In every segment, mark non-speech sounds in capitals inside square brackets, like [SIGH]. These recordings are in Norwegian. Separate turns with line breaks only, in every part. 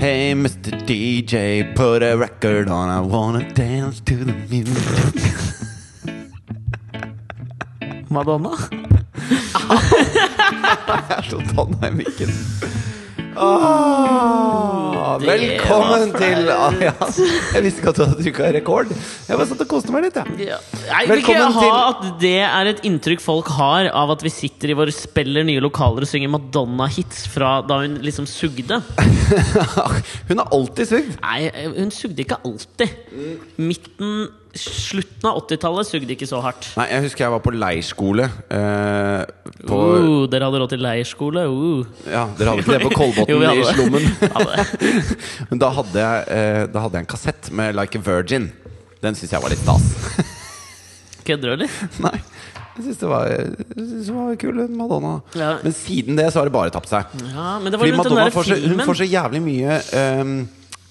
Hey, Mr. DJ, put a record on. I wanna dance to the music. [LAUGHS]
Madonna?
Jeg slo tanna i mikken. Åh,
det
velkommen
var
til ah,
flaut.
ja. Jeg visste ikke at du hadde trykka rekord. Jeg bare satt og koste meg litt, jeg. [LAUGHS]
Ja. Jeg vil ikke
Velkommen
ha
til-
at det er et inntrykk folk har av at vi sitter i våre spiller nye lokaler og synger Madonna-hits fra da hun liksom sugde.
Hun har alltid sugd.
Nei, hun sugde ikke alltid. Midten, slutten av 80-tallet sugde ikke så hardt.
Nei, jeg husker jeg var på leirskole. Eh, på,
Uh, dere hadde råd til leirskole? Uh.
ja, dere hadde ikke det på
[LAUGHS] Jo,
Kolbotn
vi hadde
i
det.
slummen?
Hadde det.
Men da hadde, jeg, eh, da hadde jeg en kassett med Like a Virgin. Den syns jeg var litt stas.
Kødder du, eller?
[LAUGHS] Nei, jeg syns det, var- jeg synes det var kul, hun Madonna.
Ja.
Men siden det så har det bare tapt seg.
Ja, men det var
Fordi
rundt
Madonna
den der
får så, hun
filmen.
får så jævlig mye ehm,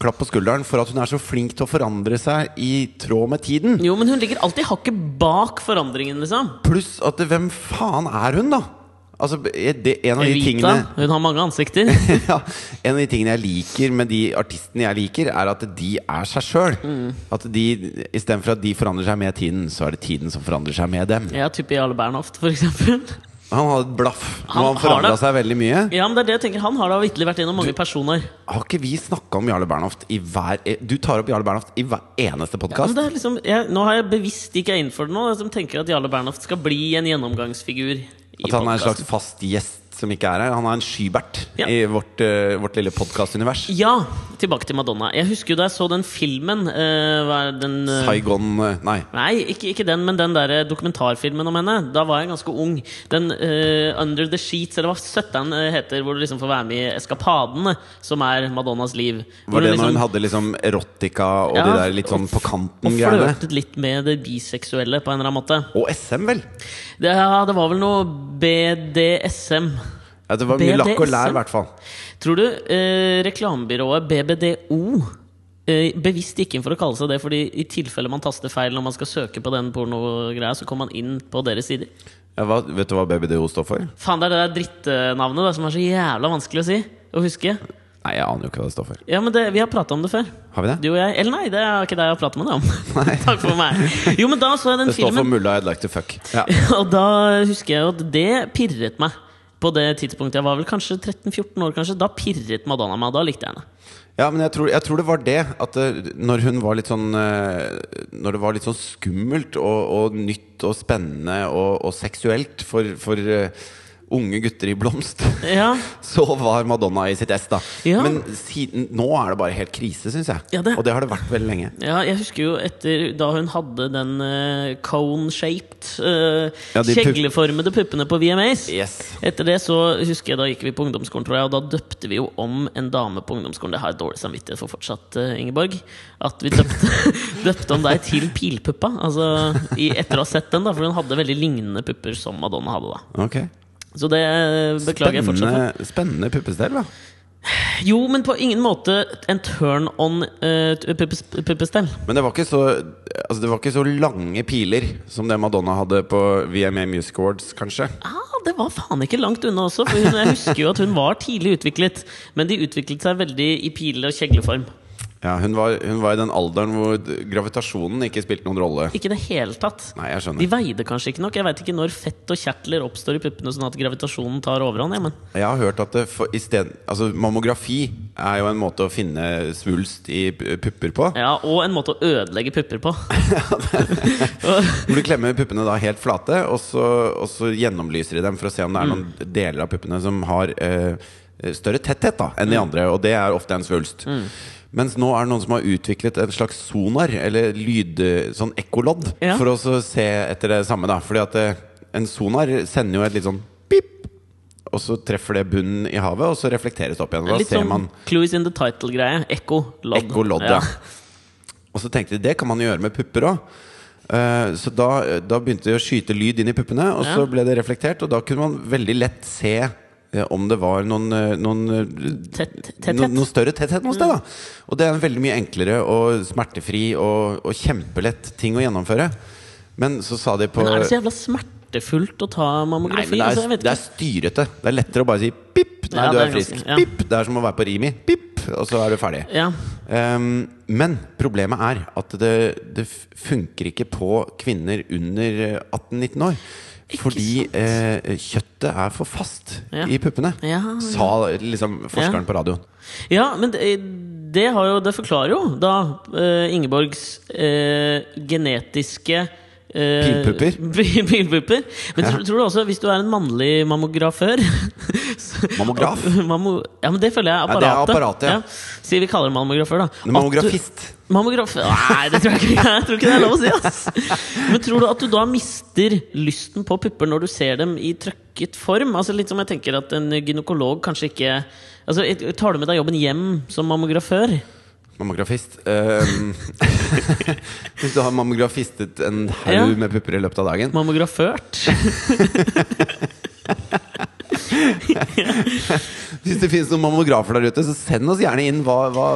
klapp på skulderen for at hun er så flink til å forandre seg i tråd med tiden.
Jo, men hun ligger alltid hakket bak forandringen, liksom.
Pluss at det- hvem faen er hun, da? Altså, det, en av de
Evita.
tingene
Hun har mange ansikter.
[LAUGHS] ja, En av de tingene jeg liker med de artistene jeg liker, er at de er seg sjøl.
Mm.
At de, Istedenfor at de forandrer seg med tiden, så er det tiden som forandrer seg med dem.
Ja, type Jarle Bernhoft, for eksempel.
Han hadde et blaff. Nå
Han
har han
har
forandra
det.
seg veldig mye.
Ja, men det er det jeg tenker. Han har da vitterlig vært innom mange personer.
Har ikke vi snakka om Jarle Bernhoft i hver e- Du tar opp Jarle Bernhoft i hver eneste
Men
podkast.
det er liksom, jeg, nå har jeg bevisst ikke jeg er innenfor det nå, som tenker at Jarle Bernhoft skal bli en gjennomgangsfigur. I
at han er en
podcasten.
slags fast gjest som ikke er her. Han er en skybert
Ja.
i vårt, eh, vårt lille podkastunivers.
Ja, tilbake til Madonna. Jeg husker jo da jeg så den filmen eh, hva er den, eh,
Saigon eh, Nei.
Nei, ikke, ikke den, men den der dokumentarfilmen om henne. Da var jeg ganske ung. Den eh, Under the Sheets, eller hva søtteren eh, heter, hvor du liksom får være med i Eskapadene, som er Madonnas liv. Hvor
Var det
hun
når hun
liksom-
hadde liksom erotika og de
Ja,
der litt sånn på
og
kanten-greiene?
flørtet litt med det biseksuelle på en eller annen måte.
Og SM, vel?
Det, ja, det var vel noe BDSM.
Ja, det var mye lakk og lær,
BDSM.
i hvert fall.
Tror du eh, reklamebyrået BBDO eh, bevisst gikk inn for å kalle seg det fordi i tilfelle man taster feil når man skal søke på den pornogreia, så kommer man inn på deres sider?
Ja, hva, vet du hva BBDO står for?
Faen, det er det der drittnavnet da, som er så jævla vanskelig å si. Å huske.
Nei, jeg aner jo ikke hva det står for.
Ja, men det, Vi har prata om det før.
Har vi det?
Du og jeg. Eller nei, det er ikke det jeg har pratet med deg
[LAUGHS]
om. [LAUGHS] Takk for meg. Jo, men da så jeg den
Det står for
filmen,
mulla I'd like to fuck. Ja.
[LAUGHS] og da husker jeg jo at det pirret meg. På det tidspunktet jeg var vel kanskje 13-14 år, kanskje. Da pirret Madonna meg. og Da likte jeg henne.
Ja, men jeg tror, jeg tror det var det at eh, når hun var litt sånn eh, Når det var litt sånn skummelt og, og nytt og spennende og, og seksuelt for, for eh, unge gutter i blomst, [LAUGHS]
Ja,
så var Madonna i sitt ess, da.
Ja.
Men siden, nå er det bare helt krise, syns jeg.
Ja, det-
Og det har det vært veldig lenge.
ja, jeg husker jo etter da hun hadde den eh, cone-shaped, eh,
Ja, de pupp-
kjegleformede puppene på VMAs.
Yes.
Etter det så husker jeg da gikk vi på ungdomsskolen, tror jeg, og da døpte vi jo om en dame på ungdomsskolen. Det har jeg dårlig samvittighet for fortsatt, eh, Ingeborg. At vi døpte, [LAUGHS] døpte om deg til Pilpuppa. Altså, i, etter å ha sett den, da, for hun hadde veldig lignende pupper som Madonna hadde. da
Ok.
Så det eh, beklager jeg fortsatt. for.
Spennende, spennende puppestell, da.
Jo, men på ingen måte en turn on eh, puppes- puppestell.
Men det var, ikke så, altså det var ikke så lange piler som det Madonna hadde på VMA Music Awards, kanskje.
Ja, Ah, det var faen ikke langt unna også, for hun, jeg husker jo at hun var tidlig utviklet. Men de utviklet seg veldig i pile- og kjegleform.
Ja, hun, var, hun var i den alderen hvor d- gravitasjonen ikke spilte noen rolle.
Ikke i det hele tatt.
Nei, jeg
De
skjønner.
veide kanskje ikke nok. Jeg veit ikke når fett og kjertler oppstår i puppene, sånn at gravitasjonen tar overhånd. Ja, men
Jeg har hørt at det for, i sted, altså, mammografi er jo en måte å finne svulst i p- pupper på.
ja, og en måte å ødelegge pupper
[LAUGHS]
på.
Hvor du klemmer puppene da helt flate, og så, og så gjennomlyser de dem for å se om
Mm.
det er noen deler av puppene som har eh, større tetthet da
Mm.
enn de andre, og det er ofte en svulst. Mens nå er det noen som har utviklet en slags sonar, eller lyd, sånn ekkolodd,
Ja.
for å så se etter det samme. da Fordi at eh, en sonar sender jo et litt sånn pip, og så treffer det bunnen i havet, og så reflekteres det opp igjen. Og da
Litt
ser
sånn
man
Clues in the title-greie. Ekko. Lodd.
Ekkolodd, ja. Og så tenkte de det kan man jo gjøre med pupper òg. så da, da begynte de å skyte lyd inn i puppene, og
Ja.
så ble det reflektert. Og da kunne man veldig lett se eh, om det var noen, eh, noen eh,
Tett- tetthet. Mm.
no, noe større tetthet noe sted. Da. Og det er en veldig mye enklere og smertefri og, og kjempelett ting å gjennomføre. Men så sa de på
Men er det så jævla smertefullt å ta
Nei,
mammografi?
men det
altså,
er,
jeg
det
vet
er
ikke.
styrete. Det er lettere å bare si pip. Nei,
Ja,
du
det
er
er
frisk.
ganske- ja.
Pip. Det er som å være på Rimi. Pip. og så er du ferdig.
Ja.
Ehm, men problemet er at det, det f- funker ikke på kvinner under eh, 18-19 år. Fordi eh, kjøttet er for fast
Ja.
i puppene,
Ja, ja.
sa liksom forskeren på radioen.
ja, men det, det, har jo, det forklarer jo da eh, Ingeborgs eh, genetiske eh,
Pilpupper.
pi- [LAUGHS] Pilpupper. Men tror, tror du også, hvis du er en mannlig mammografør [LAUGHS] så-
Mammograf?
Mammo, ja, men det føler jeg er
Ja,
apparatet.
det er apparatet, ja.
Si vi kaller det mammografør, da. At du-
Mammografist.
Mammograf Nei, det tror jeg ikke Jeg tror ikke det er lov å si ass. Men tror du at du da mister lysten på pupper Når du ser dem i trøkket form? Altså litt som jeg tenker at en gynekolog kanskje ikke Altså, et- tar du med deg jobben hjem som mammografør?
Mammografist. Ehm, [LAUGHS] hvis du har mammografistet en haug
Ja.
med pupper i løpet av dagen
Mammograført?
Hvis det finnes noen mammografer der ute, så send oss gjerne inn hva, hva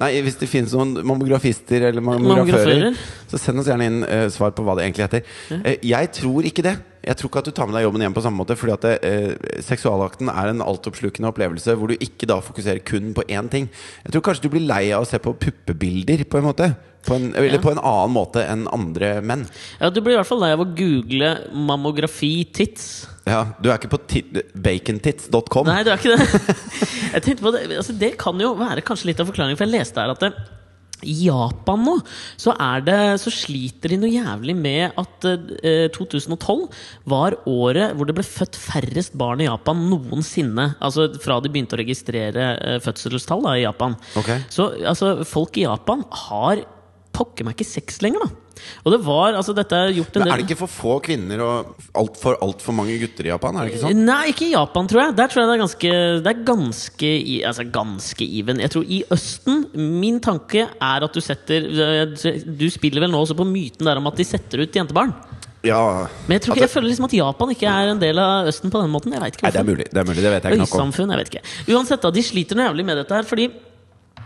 Nei, hvis det finnes noen mammografister eller mammografører,
Mammografører.
så send oss gjerne inn eh, svar på hva det egentlig heter. Eh, jeg tror ikke det. Jeg tror ikke at du tar med deg jobben hjem på samme måte, fordi at eh, seksualakten er en altoppslukende opplevelse hvor du ikke da fokuserer kun på én ting. Jeg tror kanskje du blir lei av å se på puppebilder, på en måte. På en, eller på en annen måte enn andre menn.
Ja, du blir i hvert fall lei av å google mammografi-tits.
Ja, du er ikke på ti- bacontits.com?
Nei, du er ikke det. [LAUGHS] Jeg tenkte på det. Altså, det kan jo være kanskje litt av forklaringen, for jeg leste her at det, i Japan nå så, er det, så sliter de noe jævlig med at eh, 2012 var året hvor det ble født færrest barn i Japan noensinne. Altså fra de begynte å registrere eh, fødselstall da, i Japan.
Ok.
Så altså, folk i Japan har pokker meg ikke sex lenger, da. Og det var, altså dette er gjort en
Men
del
er det ikke for få kvinner og altfor alt for mange gutter i Japan? Er det ikke sånn?
Nei, ikke i Japan, tror jeg. Der tror jeg det er ganske, det er ganske, i- altså, ganske even. Jeg tror I Østen Min tanke er at du setter Du spiller vel nå også på myten der om at de setter ut jentebarn.
Ja
Men jeg, tror ikke, jeg føler liksom at Japan ikke er en del av Østen på den måten. Jeg vet ikke
Nei, det er
hvorfor.
mulig. Det er mulig, det vet jeg ikke nok om.
Øysamfunn, jeg vet ikke. Uansett, da, de sliter noe jævlig med dette her. Fordi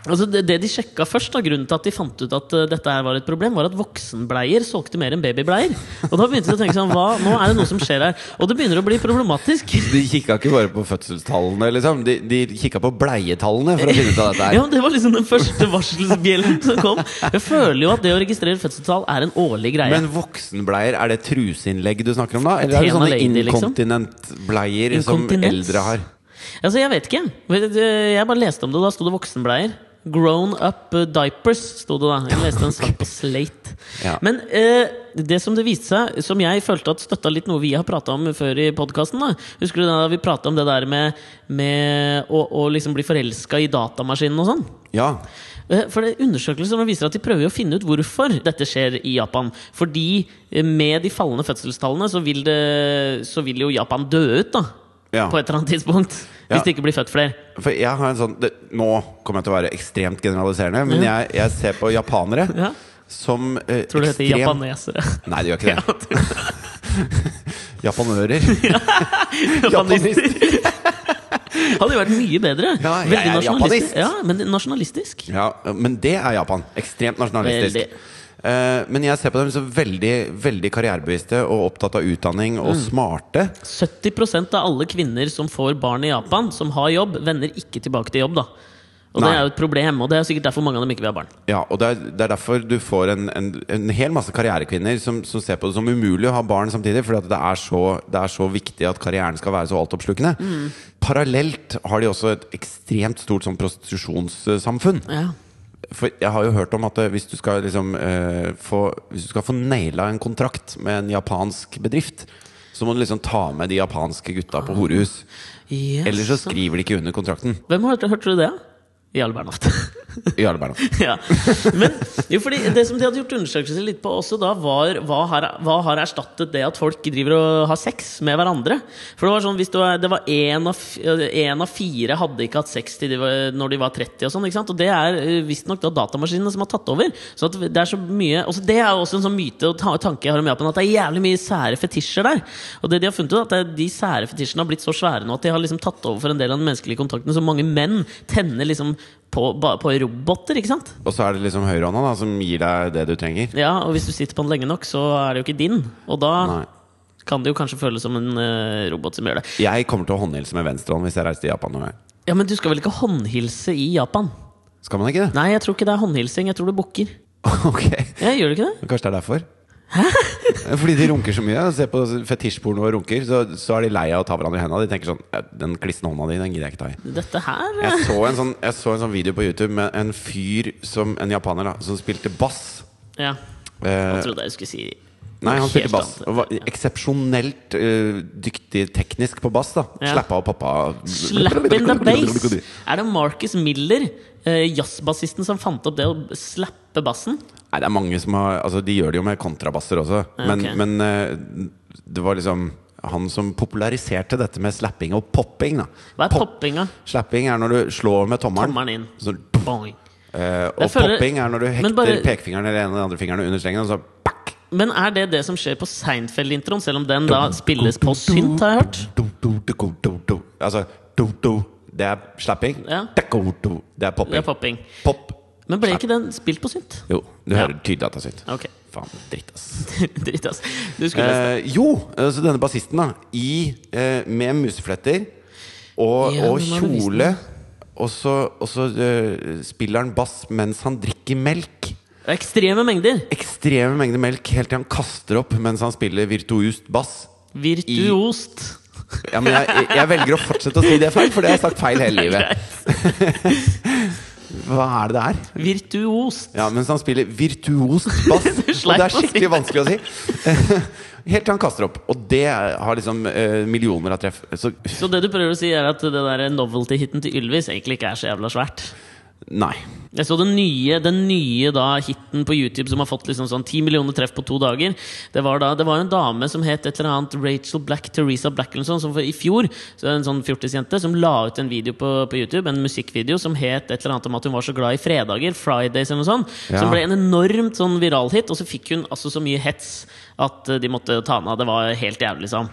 altså, det, det de sjekka først, da, grunnen til at de fant ut at eh, dette her var et problem, var at voksenbleier solgte mer enn babybleier. Og da begynte de å tenke sånn hva, Nå er det noe som skjer her. Og det begynner å bli problematisk.
De kikka ikke bare på fødselstallene, liksom. De, de kikka på bleietallene for å finne ut av dette her.
Ja, det var liksom den første varselsbjellen som kom. Jeg føler jo at det å registrere fødselstall er en årlig greie.
Men voksenbleier, er det truseinnlegg du snakker om da? Eller er det
Tema
sånne
lady, liksom?
inkontinentbleier som
Inkontinens?
eldre har?
Altså, jeg vet ikke. Men det- Jeg bare leste om det, og da sto det voksenbleier. Grown up eh, diapers, sto det da. Jeg leste en
[LAUGHS]
sak på Slate.
Ja.
Men eh, det som det viste seg, som jeg følte at støtta litt noe vi har prata om før i podkasten Husker du da vi prata om det der med, med å, å liksom bli forelska i datamaskinen og sånn?
Ja.
Eh, For det er Undersøkelser som viser at de prøver å finne ut hvorfor dette skjer i Japan. Fordi eh, med de fallende fødselstallene så vil, det, så vil jo Japan dø ut, da.
Ja.
På et eller annet tidspunkt.
Ja.
Hvis det ikke blir født flere.
For jeg har en sånn det, Nå kommer jeg til å være ekstremt generaliserende, men jeg, jeg ser på japanere
Ja.
som eh,
Tror du det heter
ekstrem-
japanesere?
Nei, det gjør ikke
[LAUGHS]
det. Japanører. [LAUGHS]
Japanister. Hadde jo vært mye bedre.
Ja, jeg er japanist.
Ja, men nasjonalistisk.
Ja, men det er Japan. Ekstremt nasjonalistisk.
Veldig.
Eh, men jeg ser på dem som veldig veldig karrierebevisste og opptatt av utdanning og smarte.
70 av alle kvinner som får barn i Japan, som har jobb, vender ikke tilbake til jobb. da Og det
Nei.
er jo et problem, og det er sikkert derfor mange av dem ikke vil ha barn.
Ja, og Det er, det er derfor du får en, en, en hel masse karrierekvinner som, som ser på det som umulig å ha barn samtidig, fordi at det er så, det er så viktig at karrieren skal være så altoppslukende. Parallelt har de også et ekstremt stort sånn prostitusjonssamfunn.
Ja.
For jeg har jo hørt om at eh, hvis du skal liksom eh, få Hvis du skal få naila en kontrakt med en japansk bedrift, så må du liksom ta med de japanske gutta på horehus.
Yes.
Ellers så skriver de ikke under kontrakten.
Hvem hørte, hørte du det? Jarle Bernhoft.
Jarle Bernhoft.
[LAUGHS] ja. Men jo, fordi det som de hadde gjort undersøkelser litt på også da, var hva har, hva har erstattet det at folk driver og har sex med hverandre? For det var sånn, hvis du er, det var én av, f- en av fire hadde ikke hatt sex til de var, når de var 30 og sånn, ikke sant? Og det er eh, visstnok da datamaskinene som har tatt over. Så at det er så mye også Det er jo også en sånn myte og ta- tanke jeg har om Japan, at det er jævlig mye sære fetisjer der. Og det de har funnet ut, er at det er de sære fetisjene har blitt så svære nå at de har liksom tatt over for en del av den menneskelige kontakten, så mange menn tenner liksom på, ba- på roboter, ikke sant?
Og så er det liksom høyrehånda da, som gir deg det du trenger.
Ja, og hvis du sitter på den lenge nok, så er det jo ikke din. Og da
Nei.
kan det jo kanskje føles som en eh, robot som gjør det.
Jeg kommer til å håndhilse med venstrehånd hvis jeg reiser til Japan. nå, jeg.
Ja, Men du skal vel ikke håndhilse i Japan?
Skal man ikke det?
Nei, jeg tror ikke det er håndhilsing. Jeg tror du bukker.
[LAUGHS] Ok,
Ja, gjør du ikke det?
Men Kanskje det er derfor? [LAUGHS] Fordi de runker så mye. Se på fetisjporno og runker, så, så er de lei av å ta hverandre i henda. De tenker sånn "Ja, Den klissende hånda di, den gidder jeg ikke ta i.
Dette her eh,
Jeg så, en sånn, jeg så en sånn video på YouTube med en fyr, som, en japaner, da, som spilte bass.
Ja.
Eh,
Jeg trodde jeg skulle si
Nei, han spilte
Altså, helt
bass.
annet.
Og var eksepsjonelt eh, dyktig teknisk på bass. da
Ja.
Slappa og pappa
Slap in the bass! Er det Marcus Miller, eh, jazzbassisten, som fant opp det å slappe bassen?
Nei, det er mange som har Altså, de gjør det jo med kontrabasser også.
Ja,
Men,
ok.
men eh, det var liksom han som populariserte dette med slapping og popping. da
Hva er
Pop-
poppinga?
Slapping er når du slår med tommelen.
Tommelen inn.
Sånn,
Boing.
eh, og
Jeg føler-
popping er når du hekter
bare-
pekefingeren eller en av de andre fingrene under strengen. Og så pakk!
Men er det det som skjer på Seinfeld-introen, selv om den da spilles på synt, har jeg hørt?
Do, do, do, do, do, do. Altså do, do. Det er slapping.
Ja.
Do, do. Det er popping.
Det er popping.
Pop.
Men ble ikke den spilt på synt?
Jo, du
Ja.
hører tydelig at det er synd.
Ok. [LAUGHS]
Faen, dritt, ass.
Dritt, ass. Du skulle lest
Eh, jo, eh, så denne bassisten, da. I, eh, med musefletter og,
Ja,
og
den har du vist
kjole. Og så, og så eh, spiller han bass mens han drikker melk.
Ekstreme mengder.
Ekstreme mengder melk helt til han kaster opp mens han spiller virtuost bass.
Virtuost.
Ja, men jeg, jeg- jeg velger å fortsette å si det feil, for det har jeg sagt feil hele livet. [LAUGHS] Hva er det det er?
Virtuost.
Ja, mens han spiller virtuost bass. [LAUGHS]
Du
og
sleit
det er
å si
skikkelig
det.
vanskelig å si. [LAUGHS] Helt til han kaster opp. Og det har liksom eh, millioner av treff. Så
Så det du prøver å si, er at det der novelty-hiten til Ylvis egentlig ikke er så jævla svært?
nei.
Jeg så den nye, den nye da, hiten på YouTube som har fått liksom sånn 10 millioner treff på to dager. Det var, da, det var en dame som het et eller annet Rachel Black, Teresa Black eller sånn, som for, i fjor, så en sånn fjortisjente, som la ut en video på, på YouTube, en musikkvideo som het et eller annet om at hun var så glad i fredager, Fridays eller noe sånt,
Ja.
som ble en enormt sånn viral hit, og så fikk hun altså så mye hets at eh, de måtte ta henne av. Det var helt jævlig, liksom.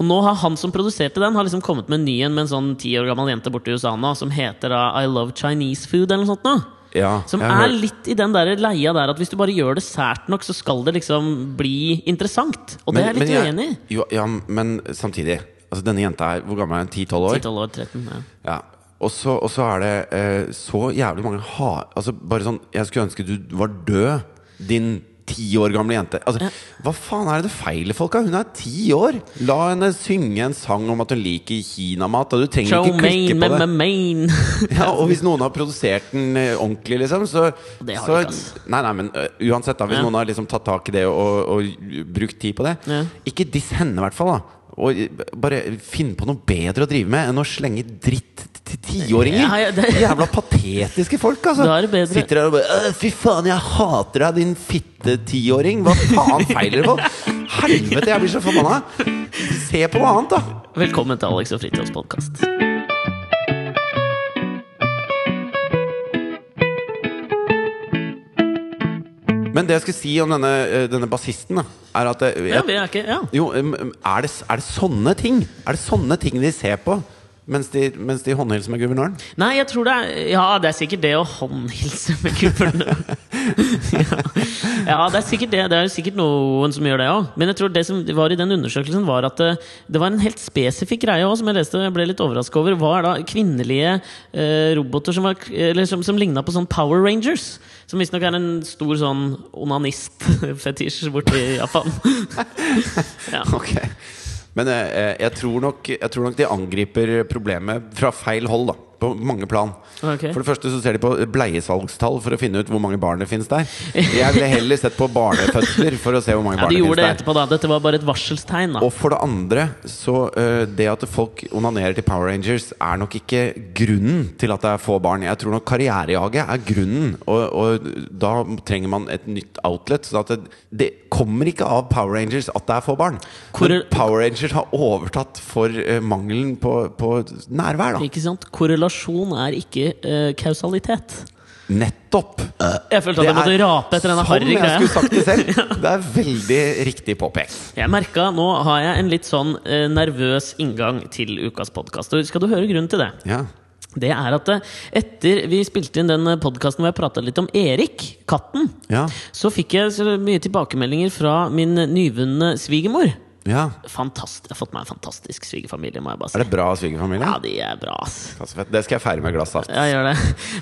Og nå har han som produserte den, har liksom kommet med en ny en med en sånn ti år gammel jente borte i USA nå, som heter da I Love Chinese Food eller noe sånt nå.
Ja,
Som
jeg
er
hører-
litt i den der leia der at hvis du bare gjør det sært nok, så skal det liksom bli interessant. Og det er jeg litt
jeg-
uenig i.
Jo, ja, men samtidig. Altså, denne jenta er Hvor gammel er hun? 10-12 år?
10-12 år, 13, ja.
Ja. Og så, og så er det eh, så jævlig mange ha... Altså, bare sånn Jeg skulle ønske du var død, din ti år gamle jente. Altså, Hva faen er det det feiler folk av? Hun er ti år! La henne synge en sang om at hun liker kinamat, og du trenger
Show
ikke klikke
main,
på det.
main, main.
Ja, og hvis noen har produsert den eh, ordentlig, liksom, så,
Det har
så
de ikke, ass.
Nei, nei, men ø, uansett, da, hvis
Ja.
noen har liksom tatt tak i det og, og brukt tid på det
Ja.
Ikke diss henne, i hvert fall. da Og eh, bare finn på noe bedre å drive med enn å slenge dritt til tiåringer!
Ja, ja, det-
Jævla patetiske folk, altså!
Da er det bedre-
Sitter der og bare «Øh, Fy faen, jeg hater deg, din fitte tiåring! Hva faen feiler det på? Helvete, jeg blir så forbanna! Se på noe annet, da!
[LAUGHS] Velkommen til Alex og Fritjofs podkast.
Men det jeg skulle si om denne, eh, denne bassisten, da, er at eh, jeg,
Ja, vi er ikke Ja.
Jo, um, um, er det, er det sånne ting? Er det sånne ting de ser på mens de, mens de håndhilser med
[LAUGHS]
guvernøren?
Nei, jeg tror det er Ja, det er sikkert det å håndhilse med guvernøren. ja. ja, det er sikkert det. Det er jo sikkert noen som gjør det òg. Men jeg tror det som var i den undersøkelsen, var at det, det var en helt spesifikk greie òg, som jeg leste og jeg ble litt overraska over. Var da kvinnelige eh, roboter som, var, eller som, som ligna på sånn Power Rangers. Som visstnok er en stor sånn onanist-fetisj borti Japan. ja.
Ok Men eh, jeg, tror nok, jeg tror nok de angriper problemet fra feil hold, da. På mange plan.
Ok.
For det første så ser de på bleiesalgstall for å finne ut hvor mange barn det finnes
[LAUGHS]
der. Jeg ville heller sett på barnefødsler for å se hvor mange
ja,
barn
de
det
gjorde det
finnes der.
etterpå, da. Dette var bare et varselstegn, da.
Og for det andre, så eh, det at folk onanerer til Power Rangers, er nok ikke grunnen til at det er få barn. Jeg tror nok karrierejaget er grunnen, og, og da trenger man et nytt outlet. Så at det, det kommer ikke av Power Rangers at det er få barn.
Hvor-
Men Power Rangers har overtatt for eh, mangelen på, på nærvær, da.
Ikke sant? Korrelasjon er ikke eh, kausalitet.
Nettopp!
Jeg følte at jeg måtte rape etter denne
sånn
harry
jeg skulle
greia.
sagt det
[LAUGHS]
selv! Det er veldig riktig påpekt.
Jeg merka nå har jeg en litt sånn eh, nervøs inngang til ukas podkast. Skal du høre grunnen til det?
Ja.
Det er at eh, etter vi spilte inn den podkasten hvor jeg prata litt om Erik, katten,
Ja.
så fikk jeg så mye tilbakemeldinger fra min nyvunne svigermor.
Ja.
Fantast, jeg har fått meg en fantastisk svigerfamilie, må jeg bare si.
Er det bra svigerfamilie?
Ja, de er bra, ass.
Ja. Det skal jeg feire med glass av.
Jeg gjør det.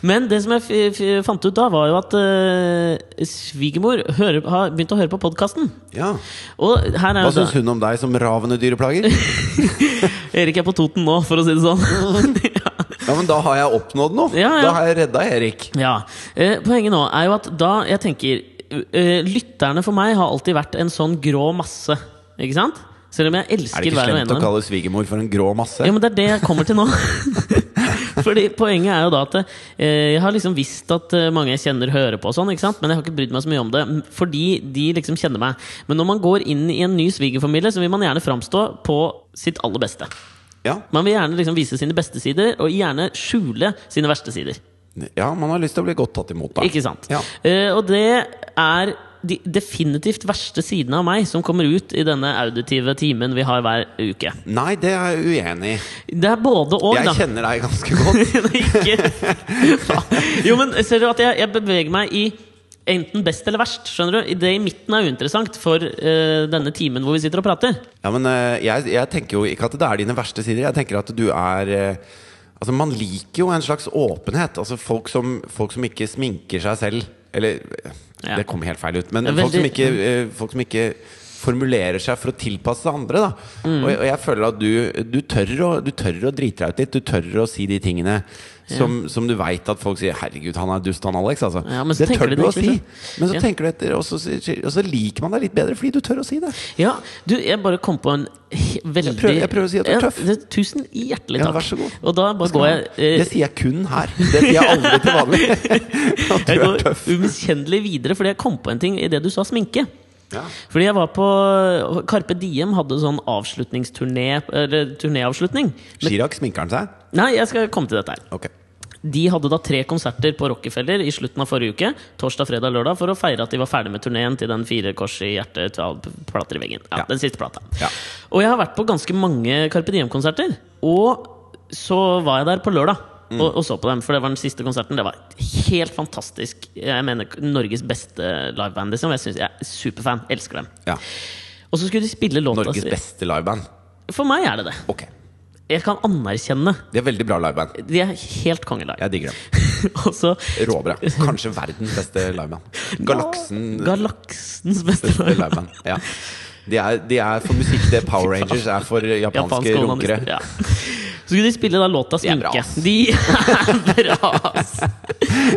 Men det som jeg f f fant ut da, var jo at eh, svigermor hører, har begynt å høre på podkasten.
Ja.
Og her er
Hva
jo
syns hun om deg som ravende dyreplager?
Erik er på Toten nå, for å si det sånn. [LAUGHS] ja.
Ja, men da har jeg oppnådd noe!
[LAUGHS] Ja, ja.
Da har jeg redda Erik.
Ja. Eh, poenget nå er jo at da jeg tenker eh, Lytterne for meg har alltid vært en sånn grå masse. Ikke sant? Selv om jeg
Er det
elsker
ikke
hver og en
slemt å
av dem.
kalle svigermor for en grå masse?
Ja, men det er det jeg kommer til nå. [LAUGHS] Fordi Poenget er jo da at eh, jeg har liksom visst at eh, mange jeg kjenner, hører på, og sånn, ikke sant? men jeg har ikke brydd meg så mye om det. m- Fordi de liksom kjenner meg. Men når man går inn i en ny svigerfamilie, så vil man gjerne framstå på sitt aller beste.
Ja.
Man vil gjerne liksom vise sine beste sider, og gjerne skjule sine verste sider.
ja, man har lyst til å bli godt tatt imot, da.
Ikke sant?
Ja.
Eh, og det er de definitivt verste sidene av meg som kommer ut i denne auditive timen vi har hver uke.
Nei, det er jeg uenig i.
Det er både og,
Jeg
da.
kjenner deg ganske
[LAUGHS]
godt.
Ikke Jo, men ser du at jeg, jeg beveger meg i enten best eller verst? Skjønner du? Det i midten er uinteressant for eh, denne timen hvor vi sitter og prater.
Ja, men eh, jeg, jeg tenker jo ikke at det er dine verste sider. Jeg tenker at du er eh, Altså, man liker jo en slags åpenhet. Altså, folk som, folk som ikke sminker seg selv. Eller eh,
Ja.
Det kom helt feil ut. Men
Det er
folk, som
veldig- Mm.
ikke, eh, folk som ikke formulerer seg for å tilpasse seg andre, da.
Mm.
Og, jeg- og jeg føler at du, du, tør å, du tør å drite deg ut litt. Du tør å si de tingene som, som du veit at folk sier 'herregud, han er dust, han Alex'. Altså.
Ja, men så
det
tenker
tør
de
du å
det ikke,
si.
liksom.
Men så
Ja.
tenker du etter, og så, og så liker man deg litt bedre fordi du tør å si det.
Ja, du, jeg bare kom på en he- veldig
prøver- jeg prøver å si at du er
Ja,
tøff.
det- Tusen hjertelig
Ja,
takk.
vær så god.
Og da bare går jeg eh,
Det sier jeg kun her. Det sier jeg aldri til
[LAUGHS]
vanlig. At
Jeg
du er
går
tøff.
umiskjennelig videre, fordi jeg kom på en ting i det du sa sminke.
Ja.
Fordi jeg var på Carpe Diem hadde sånn avslutningsturné Eller turnéavslutning.
Chirag sminker han seg?
Nei, jeg skal komme til dette her.
Ok.
De hadde da tre konserter på Rockefeller i slutten av forrige uke. Torsdag, fredag, lørdag For å feire at de var ferdig med turneen til den fire kors i hjertet tva- plater i veggen. Ja,
Ja.
Den siste plata.
Ja.
Og jeg har vært på ganske mange Carpe Diem-konserter. Og så var jeg der på lørdag
Mm.
og, og så på dem, for det var den siste konserten. Det var helt fantastisk. Jeg mener Norges beste liveband. Liksom. Jeg, synes, jeg er superfan. Elsker dem.
Ja.
Og så skulle de spille låta
Norges
si-
beste liveband.
For meg er det det.
Ok.
Jeg kan anerkjenne.
De er veldig bra liveband.
De er helt kongelive.
Jeg digger dem.
[LAUGHS] og så
Råbra. Kanskje verdens beste liveband. Galaksen
Galaksens beste
beste
lag.
liveband. Ja. De, er, de er for musikk det Power Rangers er for japanske
[LAUGHS] Japanske
runkere.
onanister. Ja. Så skulle de spille da låta
er bra,
'Sminke'.
ass.
De [LAUGHS] er bra, ass!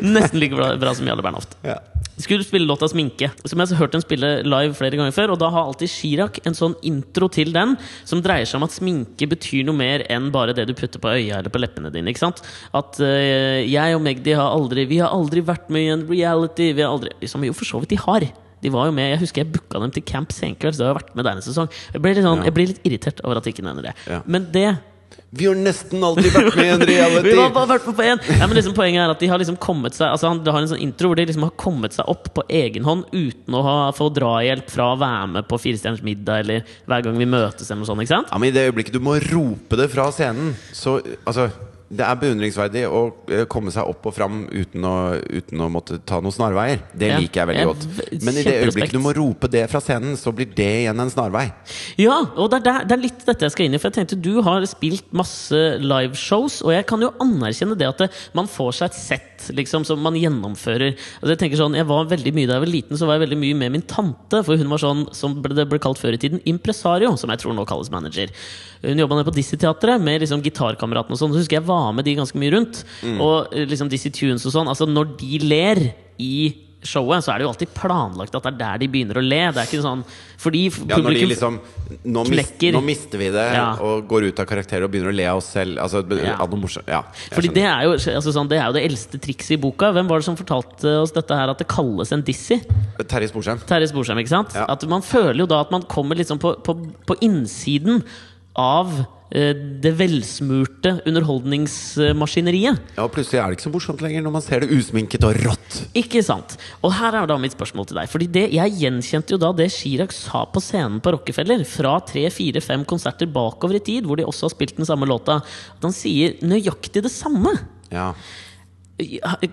Nesten like bra, bra som Jarle Bernhoft.
Ja.
De skulle spille låta 'Sminke', som jeg har hørt dem spille live flere ganger før. Og da har alltid Chirag en sånn intro til den som dreier seg om at sminke betyr noe mer enn bare det du putter på øya eller på leppene dine. ikke sant? At eh, jeg og Magdi har aldri Vi har aldri vært med i en reality. Vi har aldri Som jo for så vidt de har. De var jo med, Jeg husker jeg booka dem til Camp Senkveld, så de har vært med der en sesong. Jeg blir litt, sånn,
Ja.
jeg blir litt irritert over at de ikke nevner det.
Ja.
Men det
Vi har nesten aldri vært med i en
vi var
reality!
bare vært med på en. Ja, men liksom Poenget er at de har liksom kommet seg Altså han har en sånn intro hvor de liksom har kommet seg opp på egen hånd uten å ha, få drahjelp fra å være med på Firestjerners middag eller hver gang vi møtes. eller noe sånt, ikke sant?
Ja, men I det øyeblikket du må rope det fra scenen, så Altså, det er beundringsverdig å eh, komme seg opp og fram uten å, uten å måtte ta noen snarveier. Det
Ja.
liker jeg veldig
Ja,
godt.
v-
Men i det
kjemperespekt.
øyeblikket du må rope det fra scenen, så blir det igjen en snarvei.
Ja, og det er, der, det er litt dette jeg skal inn i. For jeg tenkte Du har spilt masse liveshows, og jeg kan jo anerkjenne det at det, man får seg et sett liksom, som man gjennomfører. Altså Jeg tenker sånn, jeg var veldig mye Da jeg var liten, så var jeg veldig mye med min tante. For hun var sånn, som ble, det ble kalt før i tiden, impresario, som jeg tror nå kalles manager. Hun jobba nede på Dizzie-teatret med liksom gitarkameratene og sånn. Så husker jeg var med de ganske mye rundt.
Mm.
Og eh, liksom Dizzie Tunes og sånn. Altså, når de ler i showet, så er det jo alltid planlagt at det er der de begynner å le. Det er ikke sånn Fordi
Ja, når de
publikum
liksom nå, mis,
knekker.
nå mister vi det,
Ja.
og går ut av karakter og begynner å le av oss selv. Altså, be-
Ja.
av noe morsomt. Ja, jeg
Fordi
skjønner.
det er, jo, altså sånn, det er jo det eldste trikset i boka. Hvem var det som fortalte oss dette her at det kalles en dizzy?
Terje Sporsheim.
Terje Sporsheim, ikke sant?
Ja.
At Man føler jo da at man kommer liksom på, på, på innsiden av eh, det velsmurte underholdningsmaskineriet.
Ja, og plutselig er det ikke så morsomt lenger når man ser det usminket og rått.
Ikke sant? Og her er da mitt spørsmål til deg. Fordi det, Jeg gjenkjente jo da det Chirag sa på scenen på Rockefeller fra tre-fire-fem konserter bakover i tid, hvor de også har spilt den samme låta. At han sier nøyaktig det samme.
Ja.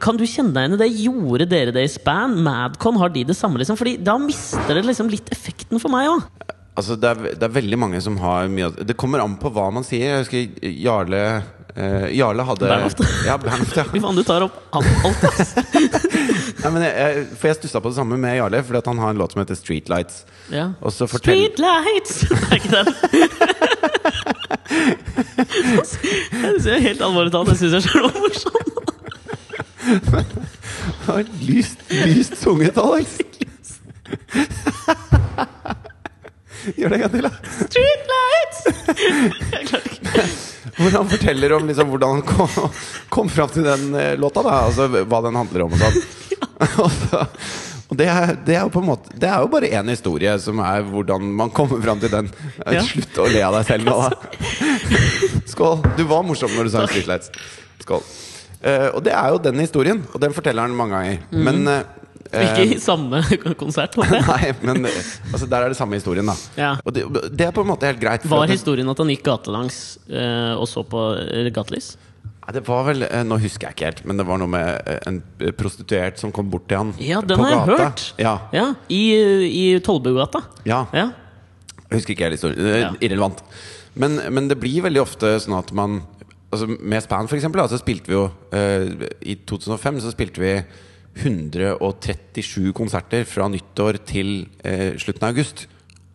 Kan du kjenne deg igjen i det? Gjorde dere det i Span? Madcon, har de det samme? liksom? Fordi da mister det liksom litt effekten for meg òg.
Altså, det er, det er veldig mange som har mye av- Det kommer an på hva man sier. Jeg husker Jarle eh, Jarle hadde
Bernhoft.
[LAUGHS] Ja, Bernhoft, ja.
Fy faen, du tar opp alt, alt ass.
Nei, men jeg, jeg, for jeg stussa på det samme med Jarle, fordi at han har en låt som heter 'Streetlights'.
[LAUGHS] Ja.
Og så fortell, [LAUGHS]
[LAUGHS] Streetlights! Det er ikke den. Jeg synes jeg helt alvorlig talt, jeg syns jeg selv var morsom.
Har Lyst, lyst sunget, Alex. [LAUGHS] Gjør det en gang til, da.
Streetlights! Jeg klarer ikke.
Hvor han forteller om liksom, hvordan han kom, kom fram til den eh, låta. Da. Altså hva den handler om og
[LAUGHS]
sånn. Og så- og det er, det er jo på en måte Det er jo bare én historie som er hvordan man kommer fram til den. Eh,
Ja.
Slutt å le av deg selv nå, da.
[LAUGHS]
Skål. Du var morsom når du sa
Takk.
Streetlights. Skål. Eh, og det er jo den historien, og den forteller han mange ganger.
Mm.
Men eh, eh,
Ikke i samme konsert, håper jeg.
[LAUGHS] Nei, men eh, altså, der er det samme historien, da.
Ja.
Og det, det er på en måte helt greit. for
Var
at det,
historien at han gikk gatelangs eh, og så på eh, gatelys?
Nei, det var vel eh, Nå husker jeg ikke helt, men det var noe med eh, en prostituert som kom bort til han
Ja, den
på
har jeg
gata.
hørt!
Ja,
Ja, I, i Tollbugata.
ja.
Ja.
Jeg husker ikke hele historien. Det er
Ja.
Irrelevant. Men, men det blir veldig ofte sånn at man altså Med Span, for eksempel, da, så spilte vi jo eh, I 2005 så spilte vi 137 konserter fra nyttår til eh, slutten av august.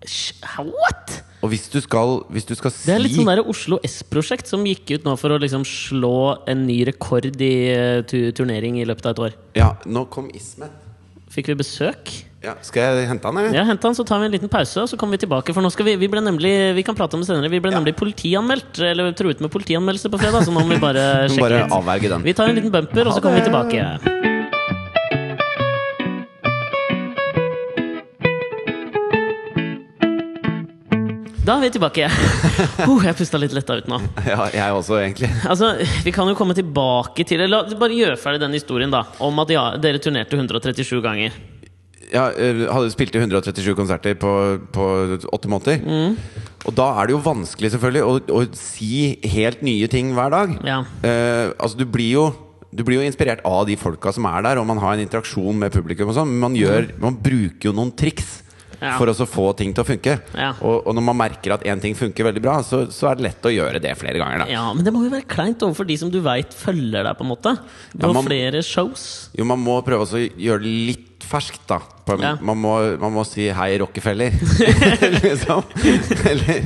Sh- What?!
Og hvis du skal, hvis du skal si
Det er litt sånn der Oslo S-prosjekt som gikk ut nå for å liksom slå en ny rekord i eh, tu turnering i løpet av et år.
Ja, nå kom Ismet.
Fikk vi besøk?
Ja, skal jeg hente han, eller?
Ja, hent han, så tar vi en liten pause, og så kommer vi tilbake. For nå skal vi Vi ble nemlig Vi kan prate om det senere. Vi ble
Ja.
nemlig politianmeldt, eller truet med politianmeldelse på fredag, så nå må vi bare
Vi [LAUGHS] må
sjekke
Bare
litt.
avverge den.
Vi tar en liten bumper, og så kommer vi tilbake. Da er vi tilbake. [LAUGHS] Uh, jeg pusta litt letta ut nå.
[LAUGHS] Ja, jeg også, egentlig.
Altså, Vi kan jo komme tilbake til Eller la- bare gjør ferdig den historien, da. Om at ja, dere turnerte 137 ganger.
Ja, eh, hadde spilt i 137 konserter på, på åtte måneder. Og da er det jo vanskelig, selvfølgelig, å, å si helt nye ting hver dag.
Ja.
Eh, altså, du blir jo du blir jo inspirert av de folka som er der, og man har en interaksjon med publikum. og sånn Men man, gjør, man bruker jo noen triks
Mm. Ja.
for å så få ting til å funke.
Ja.
Og, og når man merker at én ting funker veldig bra, så, så er det lett å gjøre det flere ganger. Da.
Ja, Men det må jo være kleint overfor de som du veit følger deg, på en måte. Du
Ja,
har
man-
flere shows.
Jo, man må prøve også å gjøre det litt ferskt, da. På en,
Ja.
man, må, man må si 'hei,
[LAUGHS]
Rockefeller'. [LAUGHS] liksom. Eller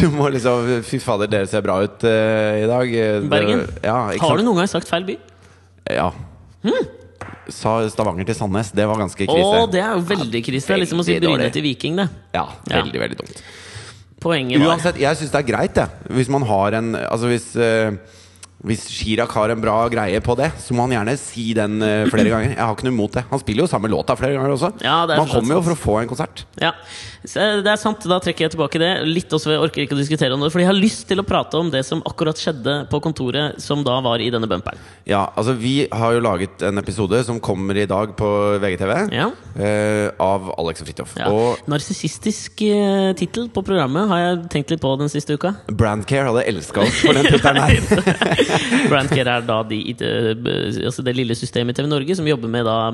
du må liksom 'fy fader, dere ser bra ut eh, i dag'. Eh, det-
Bergen?
Ja, ikke
Har du
sant?
noen gang sagt feil by?
Ja. Sa Stavanger til Sandnes. Det var ganske
Å,
krise.
det er jo veldig krise. Det er liksom å si
veldig
Bryne
dårlig.
til Viking, det.
Ja,
Ja.
veldig, veldig dumt.
Poenget var
Uansett, jeg syns det er greit, jeg. Hvis man har en Altså hvis eh, hvis Chirag har en bra greie på det, så må han gjerne si den eh,
[CLEARS THROAT]
flere ganger. Jeg har ikke noe imot det. Han spiller jo samme låta flere ganger også.
Ja, det er
man
fortsatt
kommer jo
sant.
for å få en konsert.
Ja, så eh, Det er sant. Da trekker jeg tilbake det. Litt også, Jeg orker ikke å diskutere om det, Fordi jeg har lyst til å prate om det som akkurat skjedde på kontoret, som da var i denne bumperen.
Ja, altså Vi har jo laget en episode som kommer i dag på VGTV.
Ja.
eh, av Alex og Fridtjof.
Ja.
Og
Narsissistisk eh, tittel på programmet har jeg tenkt litt på den siste uka.
Brandcare hadde elska oss
[LAUGHS]
for den tittelen her.
Brandcare er da de, i det- b- altså det lille systemet i TV Norge som jobber med da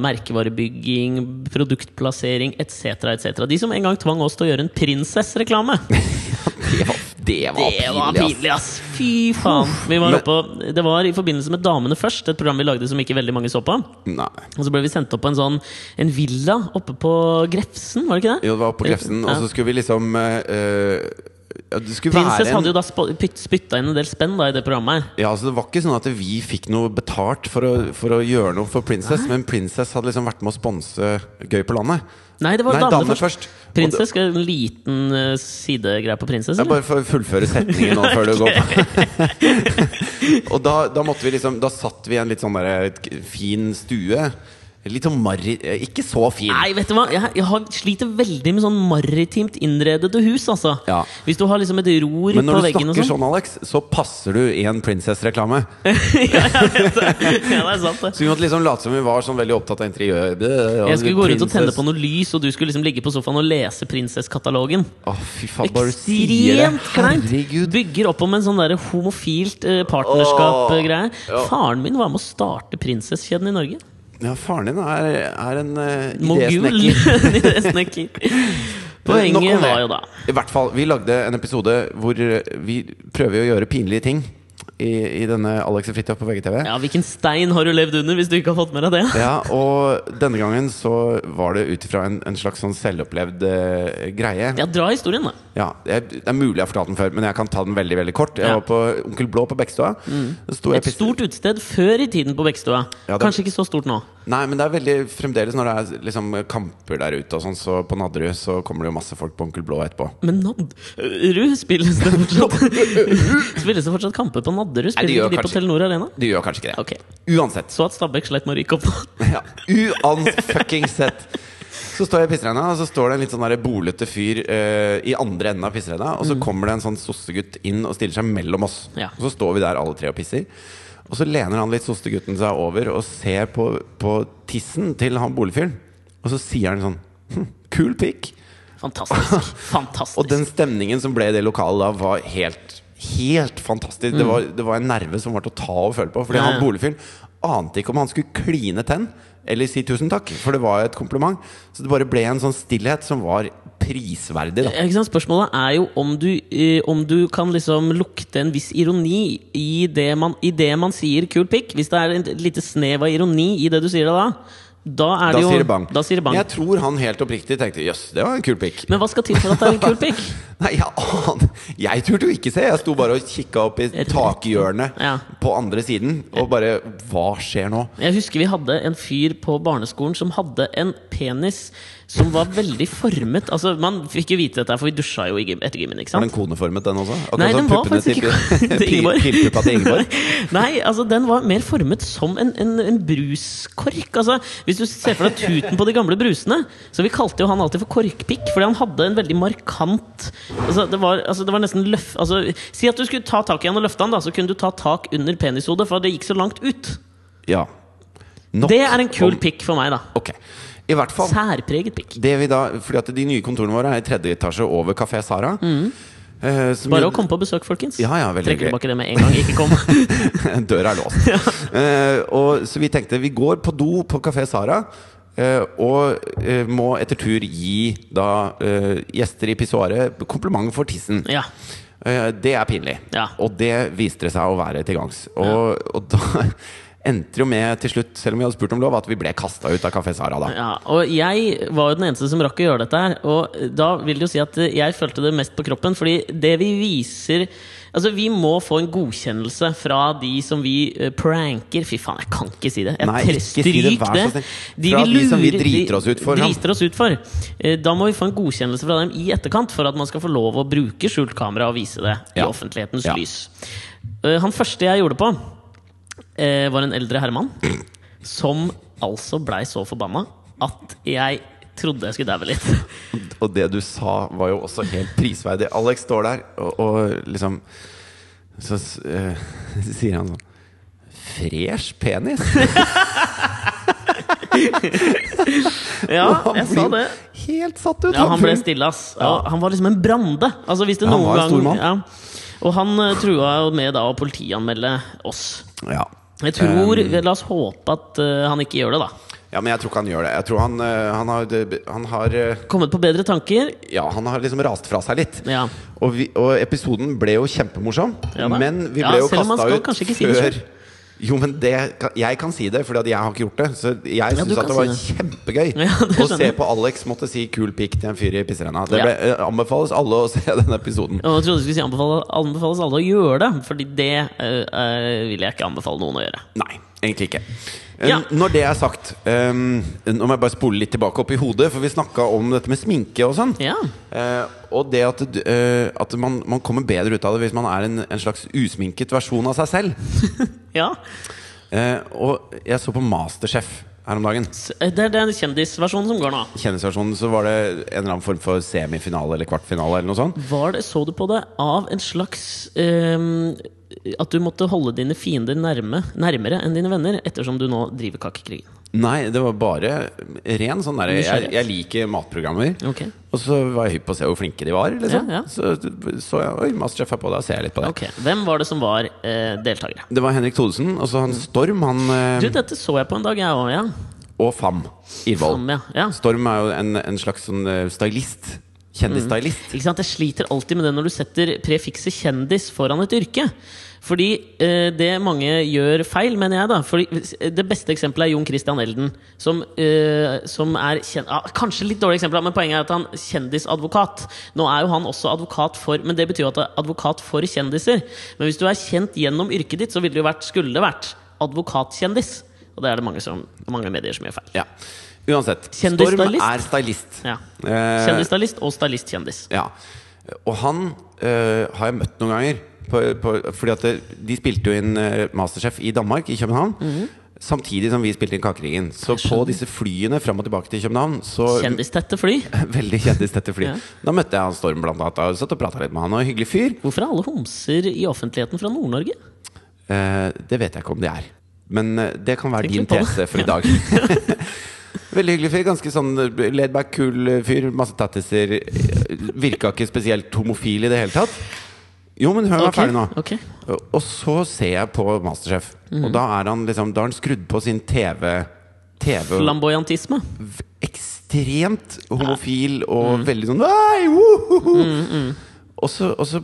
merkevarebygging, produktplassering etc. etc. De som en gang tvang oss til å gjøre en prinsessreklame.
[LAUGHS] Det var, det var
Det var
pinlig, ass.
pinlig, ass! Fy faen. Vi var
Men-
oppe, og- det var i forbindelse med Damene først, et program vi lagde som ikke veldig mange så på.
Nei.
Og så ble vi sendt opp på en sånn En villa oppe på Grefsen, var det ikke det?
Jo, det var på Klefsen, og så skulle vi liksom eh, eh, ja, Det skulle
Prinsess
være en
hadde jo da spo- pytt- spytta inn en del spenn da i det programmet. her
Ja, altså Det var ikke sånn at vi fikk noe betalt for å, for å gjøre noe for Princess, men Princess hadde liksom vært med å sponse Gøy på landet.
Nei, det var
Nei,
Damene
Damene
først.
først. Og
Prinsess skal en liten eh, sidegreie på Prinsess?
Jeg
Eller?
bare får fullføre setningen nå før du går på. [LAUGHS] og da, da måtte vi liksom Da satt vi i en litt sånn der, k- fin stue. Litt sånn marri... eh, Ikke så fin.
Nei, vet du hva? Jeg, jeg har sliter veldig med sånn maritimt innredede hus, altså.
Ja.
Hvis du har liksom et ror
Men
på
når du
veggen og
snakker
sånn.
sånn, Alex, så passer du i en Princess-reklame. sånn-
[LAUGHS] Ja, det er sant, det.
[LAUGHS] Så vi måtte liksom late som vi var sånn veldig opptatt av interiør. Jeg
Jeg skulle gå rundt og tenne på noe lys, og du skulle liksom ligge på sofaen og lese Prinsesskatalogen.
Å, fy faen, bare du sier det.
Ekstremt kleint!
Herregud.
Bygger opp om en sånn der homofilt eh, partnerskap-greie.
Åh, ja.
Faren min var med å starte prinsesskjeden i Norge.
Ja, faren din er, er en uh,
Mogul. [LAUGHS]
idésnekker. [LAUGHS]
Idésnekker.
Nok om
Poenget
det.
var jo da
I hvert fall, Vi lagde en episode hvor eh, vi prøver å gjøre pinlige ting i, i denne Alex og Fridtjof på VGTV.
[LAUGHS] Ja, hvilken stein har du levd under hvis du ikke har fått med deg det?
Ja, og denne gangen så var det ut ifra en, en slags sånn selvopplevd eh, greie.
Ja, dra historien, da.
Ja, jeg, Det er mulig jeg har fortalt den før, men jeg kan ta den veldig veldig kort. Jeg
Ja. Mm.
var på Onkel Blå på Bekkestua. Det sto
Et
epis-
stort utested før i tiden på Bekkestua.
Ja, det-
Kanskje ikke så stort nå.
Nei, men det er veldig fremdeles når det er liksom kamper der ute og sånn, så på Nadderud så kommer det jo masse folk på Onkel Blå etterpå.
Men Nadderud spilles det
[LAUGHS]
fortsatt [LAUGHS] Spilles det fortsatt kamper på
Nei,
Nadderud? Spiller
de
ikke
gjør
de på
kanskje-
Telenor Arena?
De gjør kanskje ikke det.
Ok,
Uansett.
Så at Stabæk sleit med å rykke opp nå. [LAUGHS]
Ja, Uansett. Så står jeg i pissrenna, og så står det en litt sånn der bolete fyr eh, i andre enden av pissrenna. Og så kommer det en sånn sossegutt inn og stiller seg mellom oss.
Ja.
Og så står vi der alle tre og pisser. Og så lener han litt sossegutten seg over og ser på, på tissen til han boligfyren. Og så sier han sånn hm, Kul pikk! [LAUGHS]
Fantastisk. Fantastisk.
Og den stemningen som ble i det lokalet da, var helt, helt fantastisk. Det, var, det var en nerve som var til å ta og føle på. Fordi
Mm. Ja, ja.
han boligfyren ante ikke om han skulle kline tenn eller si tusen takk, for det var jo et kompliment. Så det bare ble en sånn stillhet som var prisverdig, da.
Ja, Eh, Ikke sant? Spørsmålet er jo om du, eh, om du kan liksom lukte en viss ironi i det man, i det man sier 'kul pikk'. Hvis det er en- et lite snev av ironi i det du sier da, da er
Da
det jo
sier det bang.
Da sier det bang.
Jeg tror han helt oppriktig tenkte jøss, det var en kul pikk.
Men hva skal til for at det er en kul pikk?
Nei, jeg aner Jeg turte jo ikke se. Jeg sto bare og kikka opp i takhjørnet
Ja.
på andre siden og bare Hva skjer nå?
Jeg husker vi hadde en fyr på barneskolen som hadde en penis som var veldig formet Altså, Man fikk jo vite dette, her, for vi dusja jo i gym, etter gymmen. ikke sant?
Var den koneformet, den også? Akkurat
Nei,
som
den var
puppene
faktisk ikke [LAUGHS]
til-
til Ingeborg.
Pilpuppa til
[LAUGHS]
Ingeborg.
Nei, altså den var mer formet som en, en, en bruskork. Altså, hvis du ser for deg tuten på de gamle brusene Så Vi kalte jo han alltid for korkpikk, fordi han hadde en veldig markant altså, det, var, altså, det var nesten løf... Altså, si at du skulle ta tak i han og løfte han, da, så kunne du ta tak under penishodet, for det gikk så langt ut.
Ja. Nok
Det er en kul
om-
pikk for meg, da.
Ok. I hvert fall.
Særpreget pikk.
Det vi da, fordi at De nye kontorene våre er i tredje etasje over Kafé Sara. Eh, som
Mm. Bare
jo-
å komme på besøk, folkens.
Ja, ja, veldig hyggelig.
Trekker tilbake det med en gang. Ikke kom.
[LAUGHS] Døra er
[LAUGHS]
låst. Eh, og, så vi tenkte vi går på do på Kafé Sara. eh, og eh, må etter tur gi da eh, gjester i pissoaret kompliment for tissen.
Ja.
Eh, Det er pinlig.
Ja.
Og det viste det seg å være til gangs. Og, og da [LAUGHS] endte det jo med til slutt, selv om vi hadde spurt om lov, at vi ble kasta ut av Kafé Sara da.
Ja, og jeg var jo den eneste som rakk å gjøre dette her. Og da vil det jo si at eh, jeg følte det mest på kroppen, fordi det vi viser Altså, vi må få en godkjennelse fra de som vi eh, pranker. Fy faen, jeg kan ikke si det. Jeg
Nei,
tre-
ikke si det,
stryk
vær så snill.
De
Fra
vi
de som vi
lurer-
driter oss ut for, ja.
Driter oss ut for. Eh, Da må vi få en godkjennelse fra dem i etterkant for at man skal få lov å bruke skjult kamera og vise det i
Ja.
offentlighetens
Ja.
lys. Eh, Han første jeg gjorde på, eh, var en eldre herremann. Som altså blei så forbanna at jeg trodde jeg skulle daue
[LAUGHS]
litt.
Og det du sa, var jo også helt prisverdig. Alex står der, og, og liksom Så s- eh, [LAUGHS] sier han sånn Fresh penis!
[LAUGHS]
[LAUGHS]
Ja,
Og
jeg sa det.
helt satt ut.
Ja, han ble
fyren.
stille, ass. Ja, han var liksom en brande. Altså, hvis det
Ja, han
noen
var en
gang
stor mann.
ja. Og han eh, trua jo med da å politianmelde oss.
ja.
Jeg tror,
Um.
La oss håpe at eh, han ikke gjør det, da.
ja, men jeg tror ikke han gjør det. Jeg tror han, eh, han har, han har eh,
Kommet på bedre tanker.
Ja, han har liksom rast fra seg litt.
Ja.
Og, vi, og episoden ble jo kjempemorsom,
Ja da.
men vi
Ja,
ble jo
selv om man
kasta
skal
ut
kanskje ikke si det
før
selv.
Jo, men det, kan- jeg kan si det, Fordi at jeg har ikke gjort det. Så jeg synes
du
syns
kan
at det var
si
kjempegøy
[LAUGHS] Ja, det
å
skjønner
se
jeg.
på Alex måtte si 'kul pikk' til en fyr i pisserenna. Det
Ja.
ble, eh, anbefales alle å [LAUGHS] se den episoden.
Og jeg trodde jeg skulle si anbefale, anbefales alle å gjøre det, Fordi det eh, eh, vil jeg ikke anbefale noen å gjøre.
Nei, egentlig ikke. Eh,
Ja.
Når det er sagt eh, Nå må jeg bare spole litt tilbake opp i hodet, for vi snakka om dette med sminke og sånn.
Ja.
Eh, og det at, du- eh, at man, man kommer bedre ut av det hvis man er en, en slags usminket versjon av seg selv.
ja.
Eh, og jeg så på Masterchef her om dagen.
S- Eh, Det er den kjendisversjonen som går nå.
Kjendisversjonen så var det en eller annen form for semifinale eller kvartfinale eller noe sånt.
Var det, så du på det av en slags ehm, At du måtte holde dine fiender nærme, nærmere enn dine venner, ettersom du nå driver kakekrigen?
Nei, det var bare ren sånn derre jeg, jeg liker matprogrammer.
Ok.
Og så var jeg hypp på å se hvor flinke de var. Liksom.
Ja, ja.
Så så jeg Oi, Masterchef er på, da ser jeg litt på det.
Ok, Hvem var det som var eh, deltakere?
Det var Henrik Thodesen og så han
Mm.
Storm han, eh,
Du, dette så jeg på en dag, jeg òg. Ja.
og Fam Irvold.
Om, ja. ja.
Storm er jo en, en slags sånn eh, stylist. Kjendisstylist.
Ikke sant? Jeg sliter alltid med det når du setter prefikset kjendis foran et yrke. Fordi eh, det mange gjør feil, mener jeg. da Fordi eh, Det beste eksempelet er Jon Christian Elden. Som, eh, som er kjen ah, Kanskje litt dårlig eksempel, men poenget er at han er kjendisadvokat. Nå er jo han også advokat for Men det betyr jo at det er advokat for kjendiser. Men hvis du er kjent gjennom yrket ditt, så ville det jo vært, skulle det vært advokatkjendis. Og det er det mange, som, mange medier som gjør feil.
Ja. Uansett. Storm
Mhm. Kjendisstylist.
er stylist.
Ja.
Eh,
Kjendisstylist og stylistkjendis.
Ja. Og han eh, har jeg møtt noen ganger. På, på, fordi at det, De spilte jo inn eh, Masterchef i Danmark, i København.
Mhm.
Samtidig som vi spilte inn Kakeringen. Så på disse flyene fram og tilbake til København så
Kjendistette fly.
[LAUGHS] Veldig kjendis dette fly.
Ja.
Da møtte jeg han Storm blant annet. Og satt og prata litt med han. Og hyggelig fyr.
Hvorfor er alle homser i offentligheten fra Nord-Norge?
Eh, det vet jeg ikke om det er. Men eh, det kan være
Tenk
din
litt på det.
tese for i dag.
[LAUGHS]
Veldig hyggelig fyr. Ganske sånn laidback, kul eh, fyr. Masse tattiser. Eh, Virka ikke spesielt homofil i det hele tatt. Jo, men hør meg
Ok,
ferdig nå.
ok. Mm.
Og så ser jeg på Masterchef, og da er han liksom Da har han skrudd på sin TV. TV
Flamboyantisme.
v- ekstremt homofil
Mm.
og veldig sånn Nei, wohoho!» Og, så, og så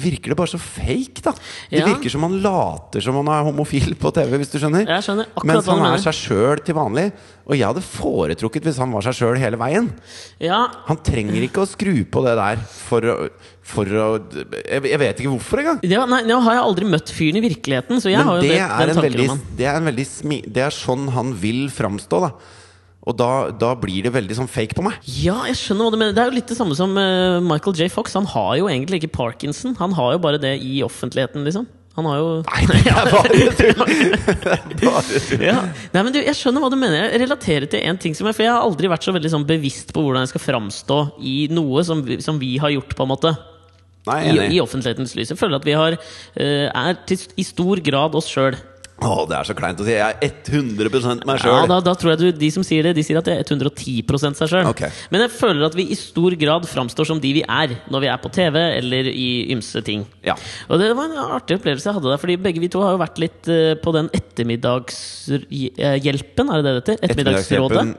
virker det bare så fake, da. Det
Ja.
virker som han later som han er homofil på TV, hvis du skjønner.
Jeg skjønner akkurat
Mens
hva
han
du
er
mener.
seg sjøl til vanlig. Og jeg hadde foretrukket hvis han var seg sjøl hele veien.
Ja,
Han trenger ikke å skru på det der for å, for å Jeg jeg vet ikke hvorfor engang.
det var, nei, Nå har jeg aldri møtt fyren i virkeligheten, så jeg
Men
har jo
det
det,
er,
den
en
tanken
veldig,
om han.
det er en veldig smi, Det er sånn han vil framstå, da. Og da, da blir det veldig sånn fake på
[LAUGHS]
meg.
Ja, jeg skjønner hva du mener. Det er jo litt det samme som eh, Michael J. Fox. Han har jo egentlig ikke parkinson. Han har jo bare det i offentligheten, liksom. Han har jo
[LAUGHS] Nei, det er bare tull!
[LAUGHS]
Det er bare tull.
ja. Nei, men du, Jeg skjønner hva du mener. Jeg relaterer til en ting som jeg For jeg har aldri vært så veldig sånn bevisst på hvordan jeg skal framstå i noe som, vi- som vi har gjort, på en måte.
Nei,
I,
enig.
i offentlighetens lys. Jeg føler at vi har, eh, er til, i stor grad oss sjøl.
Å, det er så kleint å si. Jeg er 100 meg
Ja,
sjøl.
da, da tror jeg du, De som sier det, de sier at det er 110 seg sjøl.
Ok.
Men jeg føler at vi i stor grad framstår som de vi er, når vi er på TV eller i ymse ting.
Ja.
Og det var en artig opplevelse jeg hadde der, fordi begge vi to har jo vært litt eh, på den ettermiddagshjelpen, er det det det heter? Ettermiddagsrådet?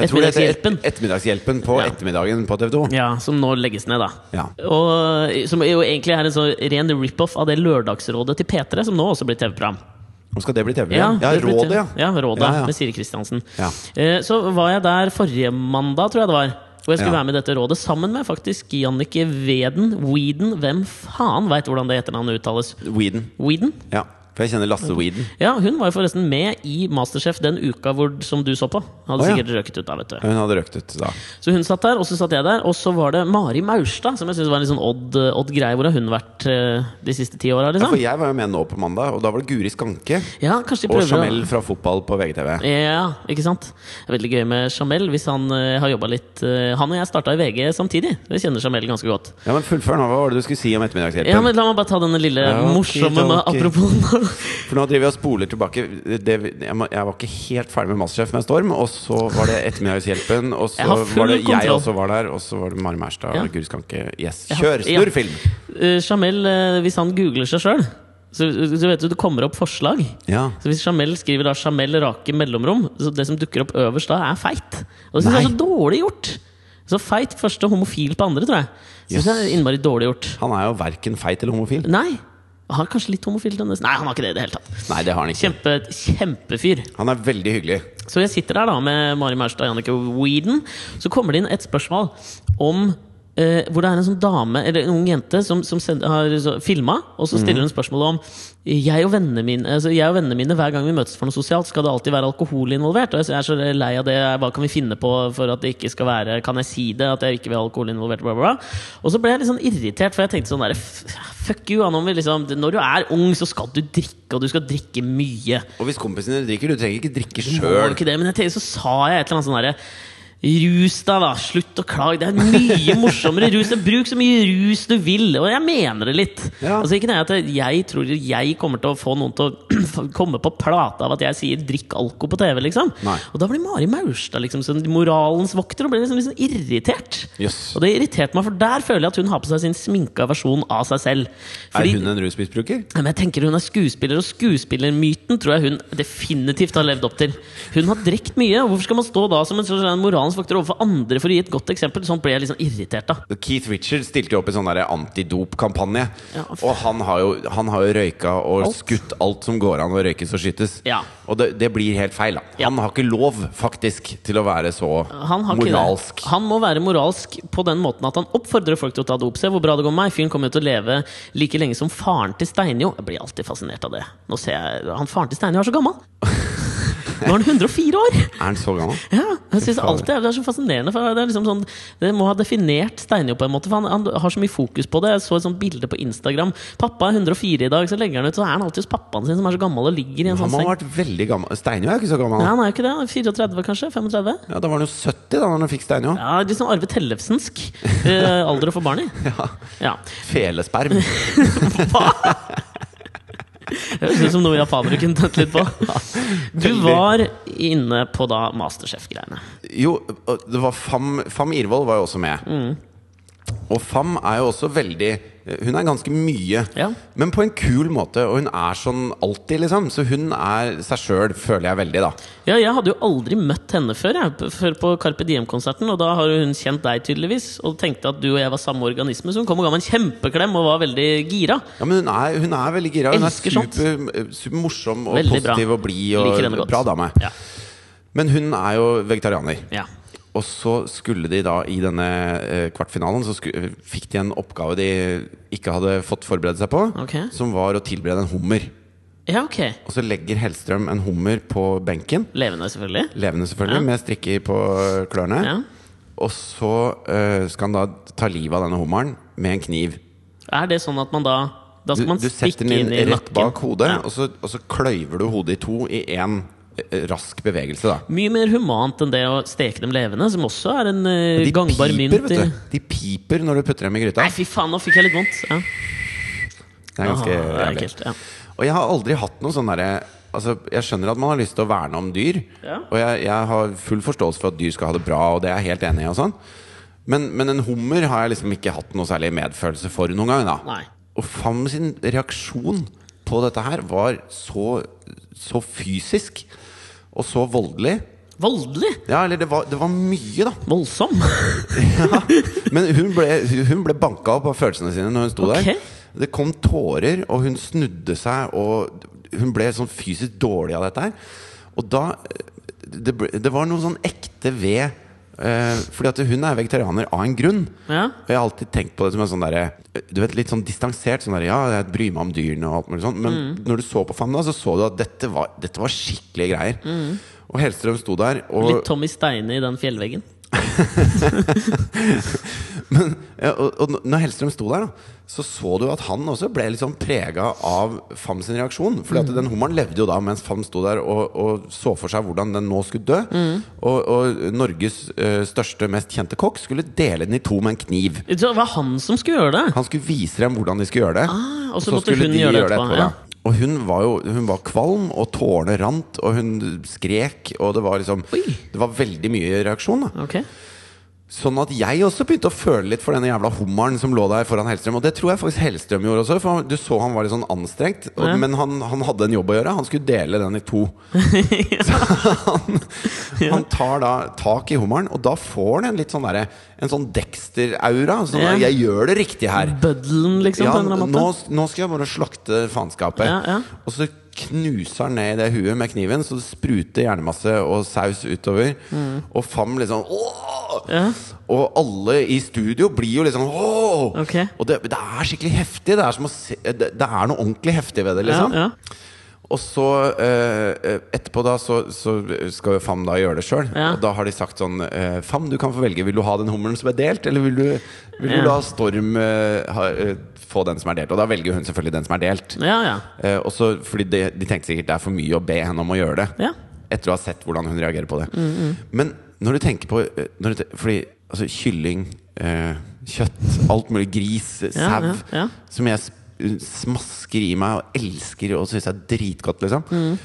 Ettermiddagshjelpen. Jeg tror det heter et,
Ettermiddagshjelpen.
Ettermiddagshjelpen på
Ja.
ettermiddagen på TV 2.
Ja, som nå legges ned, da.
Ja.
Og, som jo egentlig er en sånn ren rip-off av det Lørdagsrådet til P3, som nå også blir TV-program.
Nå skal det bli TV-program? Ja,
det blir
Rådet, ja.
til- ja. Rådet
Ja, ja.
med Siri Kristiansen.
Ja.
Eh, Så var jeg der forrige mandag, tror jeg det var. Hvor jeg skulle
Ja.
være med i dette rådet sammen med faktisk Jannicke Weden. Weeden, hvem faen veit hvordan det etternavnet uttales?
Weeden.
Weeden?
Ja. For jeg kjenner Lasse Weeden.
Ja, hun var jo forresten med i Masterchef den uka hvor, som du så på. Hadde
Å, ja.
sikkert røket ut da, vet du.
Hun hadde røkt ut da.
Så hun satt der, og så satt jeg der. Og så var det Mari Maurstad, som jeg synes var en litt sånn odd, odd greie. Hvor har hun vært eh, de siste ti åra,
Ja, for
liksom?
jeg var jo med nå på mandag, og da var det Guri Skanke
Ja, kanskje de
og
prøver å-
Jamel fra fotball på VGTV.
Ja, ikke sant? Det er veldig gøy med Jamel. Hvis han eh, har jobbet litt eh, Han og jeg starta i VG samtidig. Vi kjenner Jamel ganske godt.
Ja, men Fullfør nå, hva var det du skulle si om Ettermiddagshjelpen?
Ja, men La meg bare ta denne lille
Ja, ok,
morsomme med
ok.
apropos.
For nå driver jeg og spoler tilbake. Det, jeg, må- jeg var ikke helt ferdig med Masterchef med Storm. Og så var det Ettermiddagshjelpen, og så
Jeg har full
var det jeg
kontroll.
også var der. Og så var det Mari Mærstad
Ja.
og Guri Skanke. Yes,
Jeg har-
kjør!
ja.
Snurr film!
Eh, Jamel, eh, hvis han googler seg sjøl, så, så vet du det kommer opp forslag.
Ja.
Så hvis Jamel skriver da 'Jamel rake mellomrom', så det som dukker opp øverst da, er feit. Og det syns jeg er
Nei.
så dårlig gjort! Så feit første, homofil på andre, tror jeg. Synes jeg er innmari dårlig gjort.
Han er jo verken feit eller homofil.
Nei! Han er kanskje litt homofil tendenser. Nei, han har ikke det i det hele tatt.
Nei, det har han ikke.
Kjempe, kjempefyr.
Han er veldig hyggelig.
Så jeg sitter der da med Mari Maurstad og Jannicke Weeden. Så kommer det inn et spørsmål om eh, hvor det er en sånn dame, eller en ung jente, som, som send, har filma, og så stiller hun spørsmål om jeg og, vennene mine, altså, jeg og vennene mine, hver gang vi møtes for noe sosialt, skal det alltid være alkohol involvert? Og jeg er så lei av det, hva kan vi finne på for at det ikke skal være Kan jeg si det, at jeg ikke vil ha alkohol involvert? Bla, bla, bla. Og så ble jeg litt sånn irritert, for jeg tenkte sånn der, f- Fuck you, Anna, om vi liksom, når du er ung, så skal du drikke, og du skal drikke mye.
Og hvis kompisen din drikker, du trenger ikke drikke
Må du
sjøl.
ikke det, men jeg tenkte, så sa jeg et eller annet sånn derre Rus deg, da! Slutt å klage! Det
[LAUGHS]
er mye morsommere rus! Bruk så mye rus du vil! Og jeg mener det litt.
Ja.
Altså ikke det at Jeg tror jeg kommer til å få noen til å [CLEARS THROAT] komme på plata av at jeg sier 'drikk alko' på TV. liksom
Nei.
Og da blir Mari Maurstad liksom sånn moralens vokter og blir liksom, liksom irritert.
Jøss.
Og det irriterte meg, for der føler jeg at hun har på seg sin sminka versjon av seg selv.
Er
Fordi-
hun en rusmisbruker?
ja, Men jeg tenker Hun er skuespiller, og skuespillermyten tror jeg hun definitivt har levd opp til. Hun har drekt mye, og hvorfor skal man stå da som en sånn moralens mannsfaktor overfor andre for å gi et godt eksempel. Sånn ble jeg litt sånn irritert, da.
Keith Richards stilte jo opp i sånn der antidopkampanje.
Ja.
Og han har, jo, han har jo røyka og
Alt.
skutt alt som går an å røykes og skytes.
Ja.
Og det, det blir helt feil. Da.
Ja.
Han har ikke lov, faktisk, til å være så
Han har ikke det.
moralsk.
Han må være moralsk på den måten at han oppfordrer folk til å ta dop. Se hvor bra det går med meg. Fyren kommer jo til å leve like lenge som faren til Steinjo. Jeg blir alltid fascinert av det. Nå ser jeg, han Faren til Steinjo er så gammel! Nå er han 104 år!
Er han så gammel?
Ja, jeg synes
faen.
alltid det er så fascinerende. For det, er liksom sånn, det må ha definert Steinjo på en måte. For han, han har så mye fokus på det. Jeg så et sånt bilde på Instagram. Pappa er 104 i dag, så legger han ut, så er han alltid hos pappaen sin, som er så gammel og ligger i en
Han
sånn
må
seng.
ha vært veldig gammel. Steinjo er jo ikke så gammel.
Nei,
han.
han er jo ikke det. 34 kanskje? 35?
Ja, Da var han jo 70 da når han fikk Steinjo.
Ja, litt sånn Arve Tellefsensk
[LAUGHS]
eh, alder å få barn i.
Ja.
Ja.
Felesperm.
Hva? Det høres ut som noe japanere kunne tent litt på. Du
veldig.
var inne på da Masterchef-greiene.
Jo, og det var Fam, Fam Irvold var jo også med.
Mm.
Og Fam er jo også veldig Hun er ganske mye,
Ja.
men på en kul måte. Og hun er sånn alltid, liksom. Så hun er seg sjøl, føler jeg veldig, da.
Ja, jeg hadde jo aldri møtt henne før, jeg, p- før på Carpe Diem-konserten. Og da har hun kjent deg, tydeligvis, og tenkte at du og jeg var samme organisme. Så hun kom og ga meg en kjempeklem og var veldig gira.
Ja, men hun er, hun er veldig gira. Hun er
Elsker sånt.
super, supermorsom og
Veldig bra.
positiv og blid og
Liker henne godt.
bra dame.
Ja.
Men hun er jo vegetarianer.
ja.
Og så skulle de da i denne eh, kvartfinalen Så sku, fikk de en oppgave de ikke hadde fått forberedt seg på,
Ok.
som var å tilberede en hummer.
Ja, ok.
Og så legger Hellstrøm en hummer på benken.
Levende, selvfølgelig.
Levende, selvfølgelig,
Ja.
med strikker på klørne.
Ja.
Og så eh, skal han da ta livet av denne hummeren med en kniv.
Er det sånn at man da Da
Du,
skal man
du
stikke
setter den
inn i
inn rett
nakken?
bak hodet,
Ja.
og, så, og så kløyver du hodet i to i én rask bevegelse, da.
Mye mer humant enn det å steke dem levende, som også er en eh,
De
gangbar
piper,
mynt.
vet
i-
du. De piper når du putter dem i gryta.
Nei, fy faen, nå fikk jeg litt vondt. Ja.
Det er ganske
Aha, det er
jævlig.
ekkelt, ja.
Og jeg har aldri hatt noe sånn derre Altså, jeg skjønner at man har lyst til å verne om dyr.
Ja.
Og jeg, jeg har full forståelse for at dyr skal ha det bra, og det er jeg helt enig i. og sånn men, men en hummer har jeg liksom ikke hatt noe særlig medfølelse for noen gang. da
Nei.
Og Fam sin reaksjon på dette her var så, så fysisk og så voldelig.
Voldelig!
Ja, eller det var, det var mye, da.
Voldsom!
Ja. [LAUGHS] Men hun ble, hun ble banka opp av følelsene sine når hun sto
Ok.
der. Det kom tårer, og hun snudde seg, og hun ble sånn fysisk dårlig av dette her. Og da Det, ble, det var noe sånn ekte ved eh, Fordi at hun er vegetarianer av en grunn.
Ja.
Og jeg har alltid tenkt på det som en sånn derre Du vet, litt sånn distansert. Sånn der, ja, jeg bryr meg om dyrene og alt mulig sånt. Men
Mm.
når du så på Fam, da, så så du at dette var, dette var skikkelige greier. Og Hellstrøm sto der, og
Mm. Litt Tommy Steine i den fjellveggen.
Men, ja, og, og når Hellstrøm sto der, da, så så du at han også ble litt sånn prega av Fam sin reaksjon. Fordi
Mm.
at den hummeren levde jo da mens Fam sto der og, og så for seg hvordan den nå skulle dø.
Mm.
Og, og Norges eh, største, mest kjente kokk skulle dele den i to med en kniv.
Så Det var han som skulle gjøre det!
Han skulle vise dem hvordan de skulle gjøre det.
Ah, og så måtte hun gjøre det etterpå, ja.
da. Og hun var jo hun var kvalm, og tårene rant, og hun skrek. Og det var liksom
Oi.
Det var veldig mye reaksjon. da
Ok.
Sånn at jeg også begynte å føle litt for denne jævla hummeren som lå der foran Hellstrøm. Og det tror jeg faktisk Hellstrøm gjorde også, for han- du så han var litt sånn anstrengt. og-
Ja.
Men han, han hadde en jobb å gjøre. Han skulle dele den i to.
[LAUGHS]
Så han, han tar da tak i hummeren, og da får han en litt sånn derre En sånn Dexter-aura. Sånn
Ja.
der, 'Jeg gjør det riktig her'.
Bøddelen, liksom,
Ja,
på en eller annen
nå,
måte.
nå skal jeg bare slakte faenskapet.
Ja, ja.
Og så knuser han ned i det huet med kniven, så det spruter hjernemasse og saus utover. Og Fam liksom Åh!
Mm. Ja.
Og alle i studio blir jo liksom Åh!
Ok.
Og det, det er skikkelig heftig. Det er, som å se, det, det er noe ordentlig heftig ved det.
Ja,
liksom
ja.
og så eh, etterpå da så, så skal jo Fam da gjøre det sjøl.
Ja.
Og da har de sagt sånn eh, Fam, du kan få velge. Vil du ha den hummeren som er delt, eller vil du, vil
Ja.
du la Storm eh, ha, eh, få den som er delt? Og da velger hun selvfølgelig den som er delt.
ja, ja.
Eh, og så, fordi de, de tenkte sikkert det er for mye å be henne om å gjøre det.
Ja. Mm,
Etter å ha sett hvordan hun reagerer på det. Men når du tenker på eh, når du, te- Fordi altså, kylling, eh, kjøtt, alt mulig, gris, sau
ja, ja.
Som jeg s- smasker i meg og elsker og syns er dritgodt, liksom.
Mm.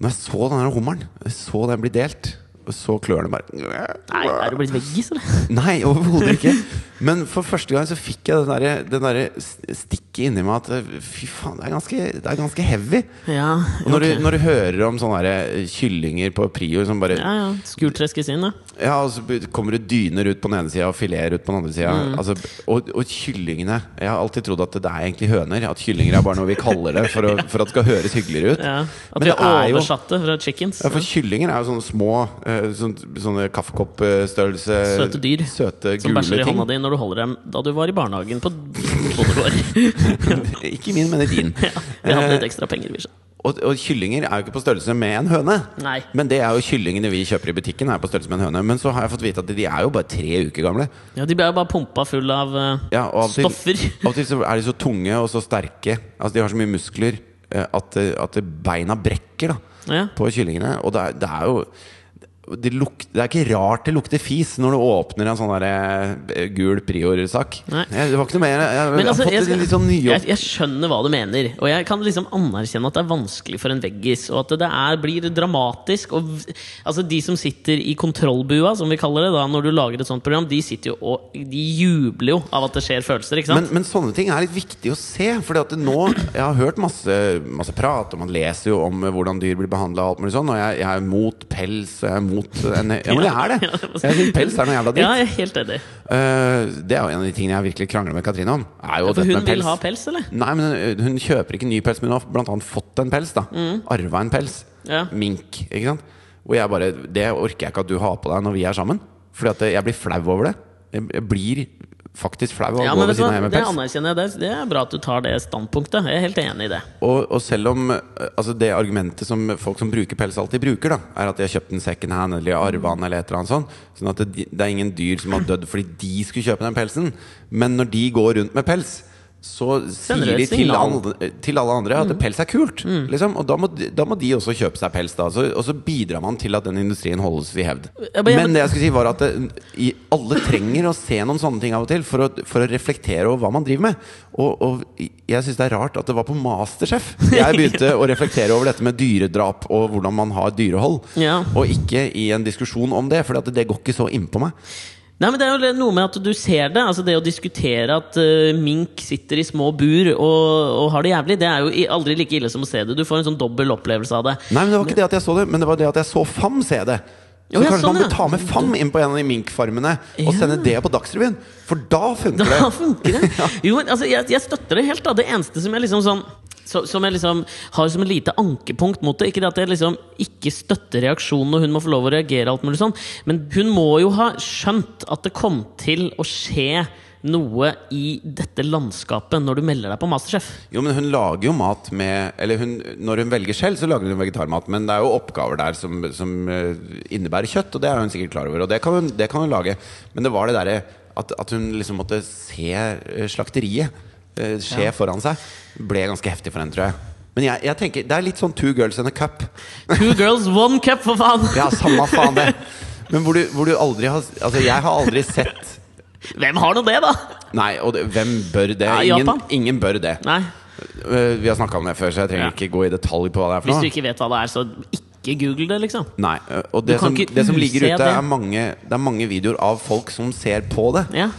Når jeg så den her hummeren, jeg så den bli delt, og så klørne bare [LAUGHS]
Nei, er du blitt veggis, eller?
Nei, overhodet ikke. Men for første gang så fikk jeg den derre- den derre der stikket inni meg at eh, fy faen, det er ganske, det er ganske heavy.
Ja,
Og når,
ok.
du, når du hører om sånne her, eh, kyllinger på Prio som bare
ja, ja. Skurtreskes inn, da.
Ja, og så b- kommer det dyner ut på den ene sida og fileter ut på den andre sida.
Mm.
Altså, og, og kyllingene Jeg har alltid trodd at det er egentlig høner. At kyllinger er bare noe vi kaller det for, å, for at det skal høres hyggeligere ut.
Ja. At
Men
vi
det er
har
jo-
oversatt det fra chickens.
Ja, for kyllinger er jo sånne små, eh, sånn- sånne kaffekoppstørrelse
Søte dyr.
Søte,
Som
gule
bæsjer i
ting.
hånda di når du holder dem da du var i barnehagen
[LAUGHS]
på Bondegård. [LAUGHS]
Ikke min, men i din.
Vi hadde litt ekstra penger. vi skjønner.
Og, og kyllinger er jo ikke på størrelse med en høne.
Nei.
Men det er jo kyllingene vi kjøper i butikken. er på størrelse med en høne Men så har jeg fått vite at de er jo bare tre uker gamle.
Ja, De ble jo bare pumpa full av eh,
Ja, og av og til-
stoffer.
Av og til så er de så tunge og så sterke. Altså De har så mye muskler eh, at, eh, at beina brekker da
Ja.
på kyllingene. Og det er, det er jo det, luk, det er ikke rart det lukter fis når du åpner en sånn der, eh, gul prior-sak.
Nei.
Jeg- Det var ikke noe mer. Jeg, jeg,
Men altså,
har fått
jeg,
det litt sånn
skal- jeg,
nyjobb.
jeg skjønner hva du mener, og jeg kan liksom anerkjenne at det er vanskelig for en veggis. Og at det er, blir dramatisk. Og, v- altså De som sitter i kontrollbua, som vi kaller det da når du lager et sånt program, de sitter jo og De jubler jo av at det skjer følelser, ikke sant?
Men, men sånne ting er litt viktig å se. Fordi at det nå, Jeg har hørt masse, masse prat, og man leser jo om eh, hvordan dyr blir behandla. Og sånn, og jeg, jeg er mot pels. og Jeg er mot en, ja, men jeg er
[LAUGHS]
det! Jeg synes pels er noe jævla dritt.
Ja, jeg er helt enig.
Eh, det er jo en av de tingene jeg virkelig krangler med Katrine om. Er jo
For
dette
hun
med
vil
pels.
ha pels, eller?
Nei, men eh, hun, hun kjøper ikke ny pels, men hun har blant annet fått en pels. da Arva en pels.
Mm. Ja.
Mink. ikke sant? Og jeg bare Det orker jeg ikke at du har på deg når vi er sammen. Fordi at jeg blir flau over det. Jeg, jeg blir faktisk flau av å
Ja,
gå
men
ved
vet du
siden av
hva,
henne med
Det
pels.
anerkjenner jeg. Det er, det er bra at du tar det standpunktet. Jeg er helt enig i det.
Og, og selv om eh, altså det argumentet som folk som bruker pels, alltid bruker, da er at de har kjøpt den second hand eller de har arva den, eller et eller annet sånt. Sånn at det, det er ingen dyr som har dødd fordi de skulle kjøpe den pelsen. Men når de går rundt med pels, så
det
sier
et
de til
signal. Mm.
alle, til alle andre at pels er kult. Liksom. Og da må, de- da må de også kjøpe seg pels, da. Så, og så bidrar man til at den industrien holdes i hevd.
Ja, men jeg-
Men det jeg skulle si, var at det, i, alle trenger å se noen sånne ting av og til for å, for å reflektere over hva man driver med. Og, og jeg syns det er rart at det var på Masterchef jeg begynte å reflektere over dette med dyredrap og hvordan man har dyrehold.
Ja.
Og ikke i en diskusjon om det, for det går ikke så innpå meg.
Nei, men Det er jo noe med at du ser det. altså Det å diskutere at eh, mink sitter i små bur og, og har det jævlig, det er jo i- aldri like ille som å se det. Du får en sånn dobbel opplevelse av det.
Nei, men det var ikke det at jeg så det, men det var det at jeg så Fam se det. Så
Å, ja,
kanskje
sånn,
man bør
ja.
ta med Fam inn på en av de minkfarmene og
Ja.
sende det på Dagsrevyen. For da funker det.
Da
[LAUGHS]
funker det! Jo, men altså, jeg, jeg støtter det helt. da Det eneste som jeg liksom sånn så, som jeg liksom har som et lite ankepunkt mot det. Ikke det at jeg liksom ikke støtter reaksjonen, og hun må få lov å reagere, alt mulig sånn men hun må jo ha skjønt at det kom til å skje noe i dette landskapet når du melder deg på Masterchef.
Jo, men hun lager jo mat med Eller hun, når hun velger selv, så lager hun vegetarmat. Men det er jo oppgaver der som, som eh, innebærer kjøtt, og det er hun sikkert klar over. Og det kan hun, det kan hun lage. Men det var det derre at, at hun liksom måtte se eh, slakteriet eh, skje foran seg. Ble ganske heftig for henne, tror jeg. Men jeg, jeg tenker, det er litt sånn two girls in a cup.
Two girls, one cup, for faen!
Ja, samme faen det. Men hvor du, hvor du aldri har Altså, jeg har aldri sett
[LAUGHS] Hvem har nå det, da?
Nei, og det, hvem bør det?
Ja, Japan.
Ingen, ingen bør det.
Nei,
Eh, Vi har snakka om det før, så jeg trenger
Ja.
ikke gå i detalj på hva det er for
Hvis
noe.
du ikke vet hva det er, så ikke google det, liksom.
Nei, ø, og det
kan
som,
ikke
det som ligger
use
ute,
det.
er mange, det er mange videoer av folk som ser på det.
Ja.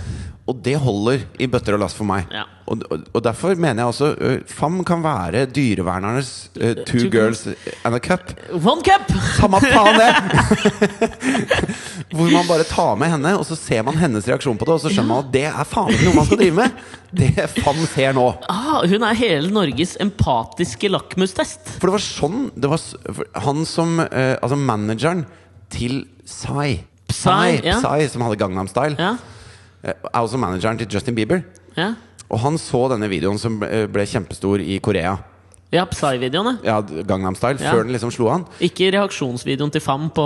Og det holder i bøtter og last for meg.
Ja.
Og, og, og derfor mener jeg også ø, FAM kan være dyrevernernes ø, two,
Two
girls and a cup.
One cup!
Samme faen det! [LAUGHS] Hvor man bare tar med henne, og så ser man hennes reaksjon på det, og så skjønner man at det er faen ikke noe man skal drive med! Det FAM ser nå.
Ah, hun er hele Norges empatiske lakmustest.
For det var sånn det var, s- for Han som eh, Altså manageren til Psy.
Psy, ja.
Psy som hadde Gangnam Style.
Ja,
eh, Er også manageren til Justin Bieber.
ja.
Og han så denne videoen som eh, ble kjempestor i Korea.
ja Psy-videoene.
Ja, Gangnam Style.
Ja.
Før den liksom slo han.
Ikke reaksjonsvideoen til Fam på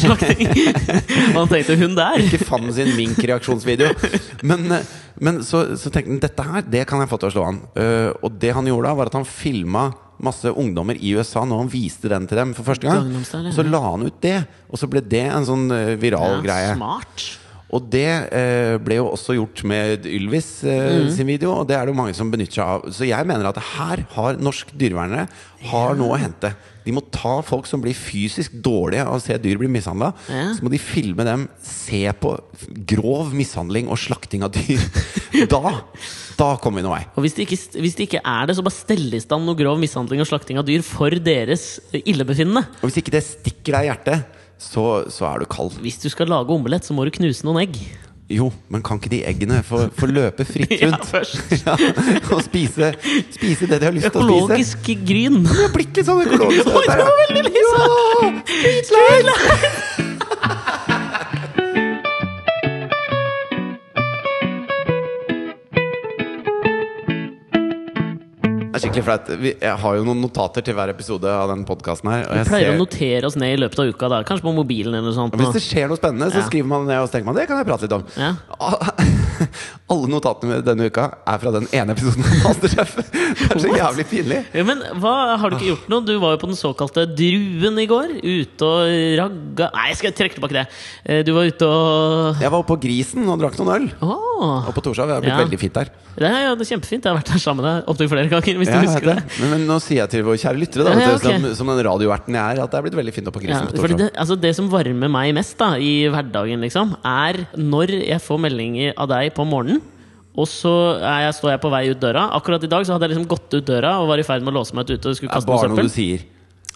slakting.
[LAUGHS]
Og han tenkte 'hun der'?
Ikke Fan sin mink-reaksjonsvideo.
[LAUGHS]
Men, eh, men så, så tenkte han dette her, det kan jeg få til å slå han. Eh, og det han gjorde da, var at han filma masse ungdommer i USA når han viste den til dem for første gang.
Gangnam Style, ja.
Så la han ut det, og så ble det en sånn eh, viral
Ja,
greie.
smart.
Og det eh, ble jo også gjort med Ylvis eh,
Mm.
sin video, og det er det jo mange som benytter seg av. Så jeg mener at her har norsk dyrevernere har noe å hente. De må ta folk som blir fysisk dårlige av å se dyr bli mishandla.
Ja.
Så må de filme dem se på grov mishandling og slakting av dyr. [LAUGHS] Da, da kommer vi noen vei.
Og hvis det, ikke, hvis det ikke er det, så bare stell i stand noe grov mishandling og slakting av dyr for deres illebefinnende.
Og hvis ikke det stikker deg i hjertet, så, så er du kald.
Hvis du skal lage omelett, så må du knuse noen egg.
Jo, men kan ikke de eggene få, få løpe fritt
[LAUGHS] Ja,
rundt?
først.
[LAUGHS] Ja, og spise, spise det de har lyst til å spise?
Økologisk gryn.
Jeg har blitt litt sånn økologisk.
Oi, det var veldig liksom.
Det er skikkelig flaut. Vi- Jeg har jo noen notater til hver episode av den podkasten her. Og jeg
Pleier å
ser,
notere oss ned i løpet av uka, da. kanskje på mobilen eller noe sånt.
hvis
nå.
det skjer noe spennende, så
Ja.
skriver man det ned og så tenker man det kan jeg prate litt om.
Ja.
[LAUGHS] Alle notatene mine denne uka er fra den ene episoden av Masterchef. Det er så jævlig pinlig.
Ja, men hva, Har du ikke gjort noe? Du var jo på den såkalte Druen i går. Ute og ragga Nei, jeg skal trekke tilbake det. Eh, Du var ute og
Jeg var oppe på Grisen og drakk noen øl.
Åh,
Og på Torshov. Det har blitt
Ja.
veldig fint der.
det er jo kjempefint. Jeg har vært der sammen med deg opptil flere ganger. Hvis
Ja,
du
jeg
husker
vet
det,
det. Men, men nå sier jeg til våre kjære lyttere, da,
Ja, ja,
vet du,
ok.
som, som den radioerten jeg er, at det er blitt veldig fint oppe på
Ja,
Grisen på
fordi
Torshov.
det, altså det som varmer meg mest da, i hverdagen, liksom, er når jeg får meldinger av deg på morgenen. Og så er jeg, står jeg på vei ut døra. Akkurat i dag så hadde jeg liksom gått ut døra og var i ferd med å låse meg ut ute. og skulle
Det er
kaste noe
bare noe
søppel
du sier.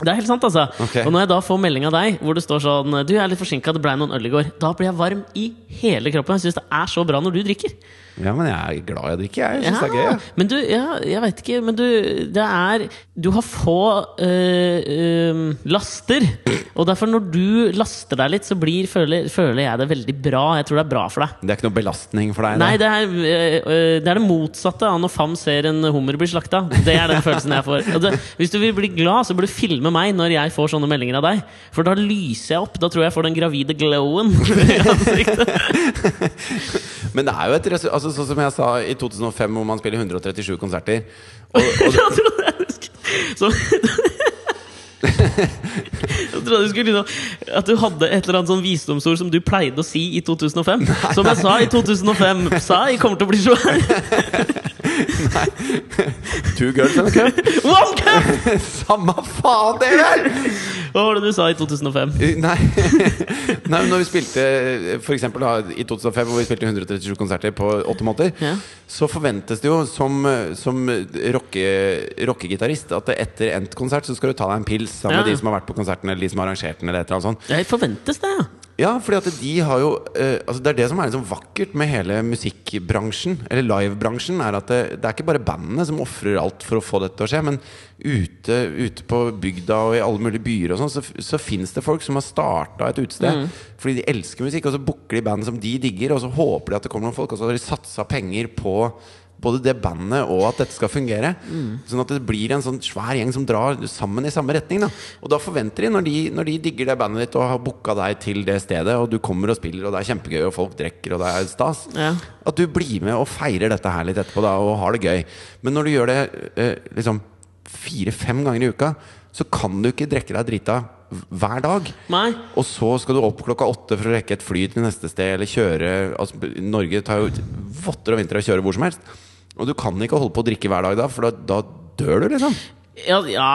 Det er helt sant, altså.
Ok.
Og når jeg da får melding av deg hvor det står sånn Du, jeg er litt forsinka, det blei noen øl i går. Da blir jeg varm i hele kroppen. Jeg syns det er så bra når du drikker.
Ja, men jeg er glad jeg drikker, jeg. Jeg synes det er gøy. jeg.
Men du, ja, jeg veit ikke Men du, det er Du har få øh, øh, laster. Og derfor, når du laster deg litt, så blir, føler, føler jeg det veldig bra. Jeg tror det er bra for deg.
Det er ikke noe belastning for deg?
Nei,
det.
det er, øh, øh, det er det motsatte av når Fam ser en hummer bli slakta. Det er den følelsen jeg får. Og det, hvis du vil bli glad, så bør du filme meg når jeg får sånne meldinger av deg. For da lyser jeg opp. Da tror jeg jeg får den gravide glowen. i ansiktet.
Men det er jo et resu- altså, Sånn som jeg sa i 2005, hvor man spiller 137 konserter. Og, og
Jeg trodde jeg skulle- så- [LAUGHS] Jeg trodde du skulle liksom At du hadde et eller annet sånn visdomsord som du pleide å si i 2005. Som jeg sa i 2005. Sa jeg kommer til å bli svær.
two girls and a
[LAUGHS]
cup.
[LAUGHS] One cup!
Samme faen, det gjør!
Hva var det du sa i 2005?
Nei. [LAUGHS] Nei, men når vi spilte For eksempel da, i 2005, hvor vi spilte 137 konserter på åtte måneder,
Ja.
så forventes det jo som, som rocke- rockegitarist at etter endt konsert så skal du ta deg en pils sammen
Ja,
med
ja.
de som har vært på konserten, eller de som har arrangert den, eller et eller annet sånt.
Jeg forventes det, ja.
Ja, fordi at de har jo eh, altså Det er det som er liksom vakkert med hele musikkbransjen, eller livebransjen, er at det, det er ikke bare bandene som ofrer alt for å få dette til å skje, men ute, ute på bygda og i alle mulige byer og sånn, så, så fins det folk som har starta et utested fordi de elsker musikk, og så booker de band som de digger, og så håper de at det kommer noen folk, og så har de satsa penger på både det bandet og at dette skal fungere. Sånn at det blir en sånn svær gjeng som drar sammen i samme retning. Da. Og da forventer de når, de, når de digger det bandet ditt og har booka deg til det stedet, og du kommer og spiller, og det er kjempegøy, og folk drikker, og det er stas,
Ja.
at du blir med og feirer dette her litt etterpå da, og har det gøy. Men når du gjør det eh, liksom fire-fem ganger i uka, så kan du ikke drikke deg drita hver dag.
Nei.
Og så skal du opp klokka åtte for å rekke et fly til neste sted, eller kjøre altså, Norge tar jo votter og vinter og kjører hvor som helst. Og du kan ikke holde på å drikke hver dag da, for da, da dør du, liksom.
Ja, ja,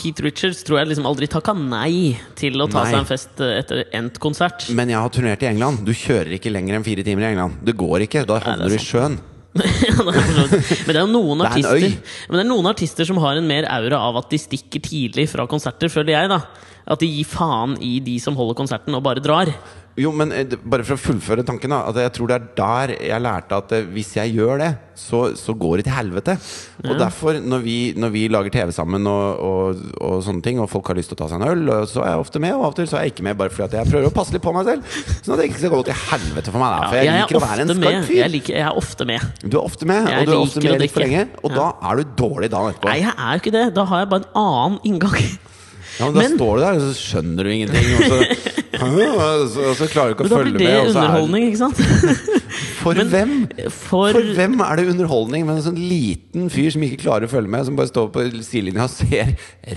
Keith Richards tror jeg liksom aldri takka nei til å ta
Nei.
seg en fest eh, etter endt konsert. [LAUGHS]
Men jeg har turnert i England. Du kjører ikke lenger enn fire timer i England. Det går ikke. Da havner du i sjøen.
Ja, det er for så vidt. Men det er jo
[LAUGHS]
noen
Det er en
artister
øy.
Men det er noen artister som har en mer aura av at de stikker tidlig fra konserter, føler jeg. da At de gir faen i de som holder konserten, og bare drar.
Jo, men eh, det- bare for å fullføre tanken, da. At jeg tror det er der jeg lærte at eh, hvis jeg gjør det, så, så går det til helvete. Og derfor, når vi, når vi lager TV sammen og, og, og sånne ting, og folk har lyst til å ta seg en øl, og så er jeg ofte med, og av og til så er jeg ikke med, bare fordi at jeg prøver å passe litt på meg selv. Sånn at det ikke skal gå til helvete for meg. Da, for jeg, liker å være en skarp
med.
fyr.
Jeg, liker, jeg er ofte med.
Du er ofte med,
Jeg
og du er ofte
liker å
med litt for lenge.
drikke.
Og da er du dårlig dagen etterpå.
Nei, jeg er jo ikke det. Da har jeg bare en annen inngang.
Ja, men da
Men-
står du der, og så skjønner du
[LAUGHS]
ingenting. [LAUGHS] Og så, og så, og så klarer du ikke å
Men da blir
følge
det
med. Og så er,
underholdning, ikke sant?
For
Men
hvem?
For,
For hvem er det underholdning med en sånn liten fyr som ikke klarer å følge med, som bare står på sidelinja og ser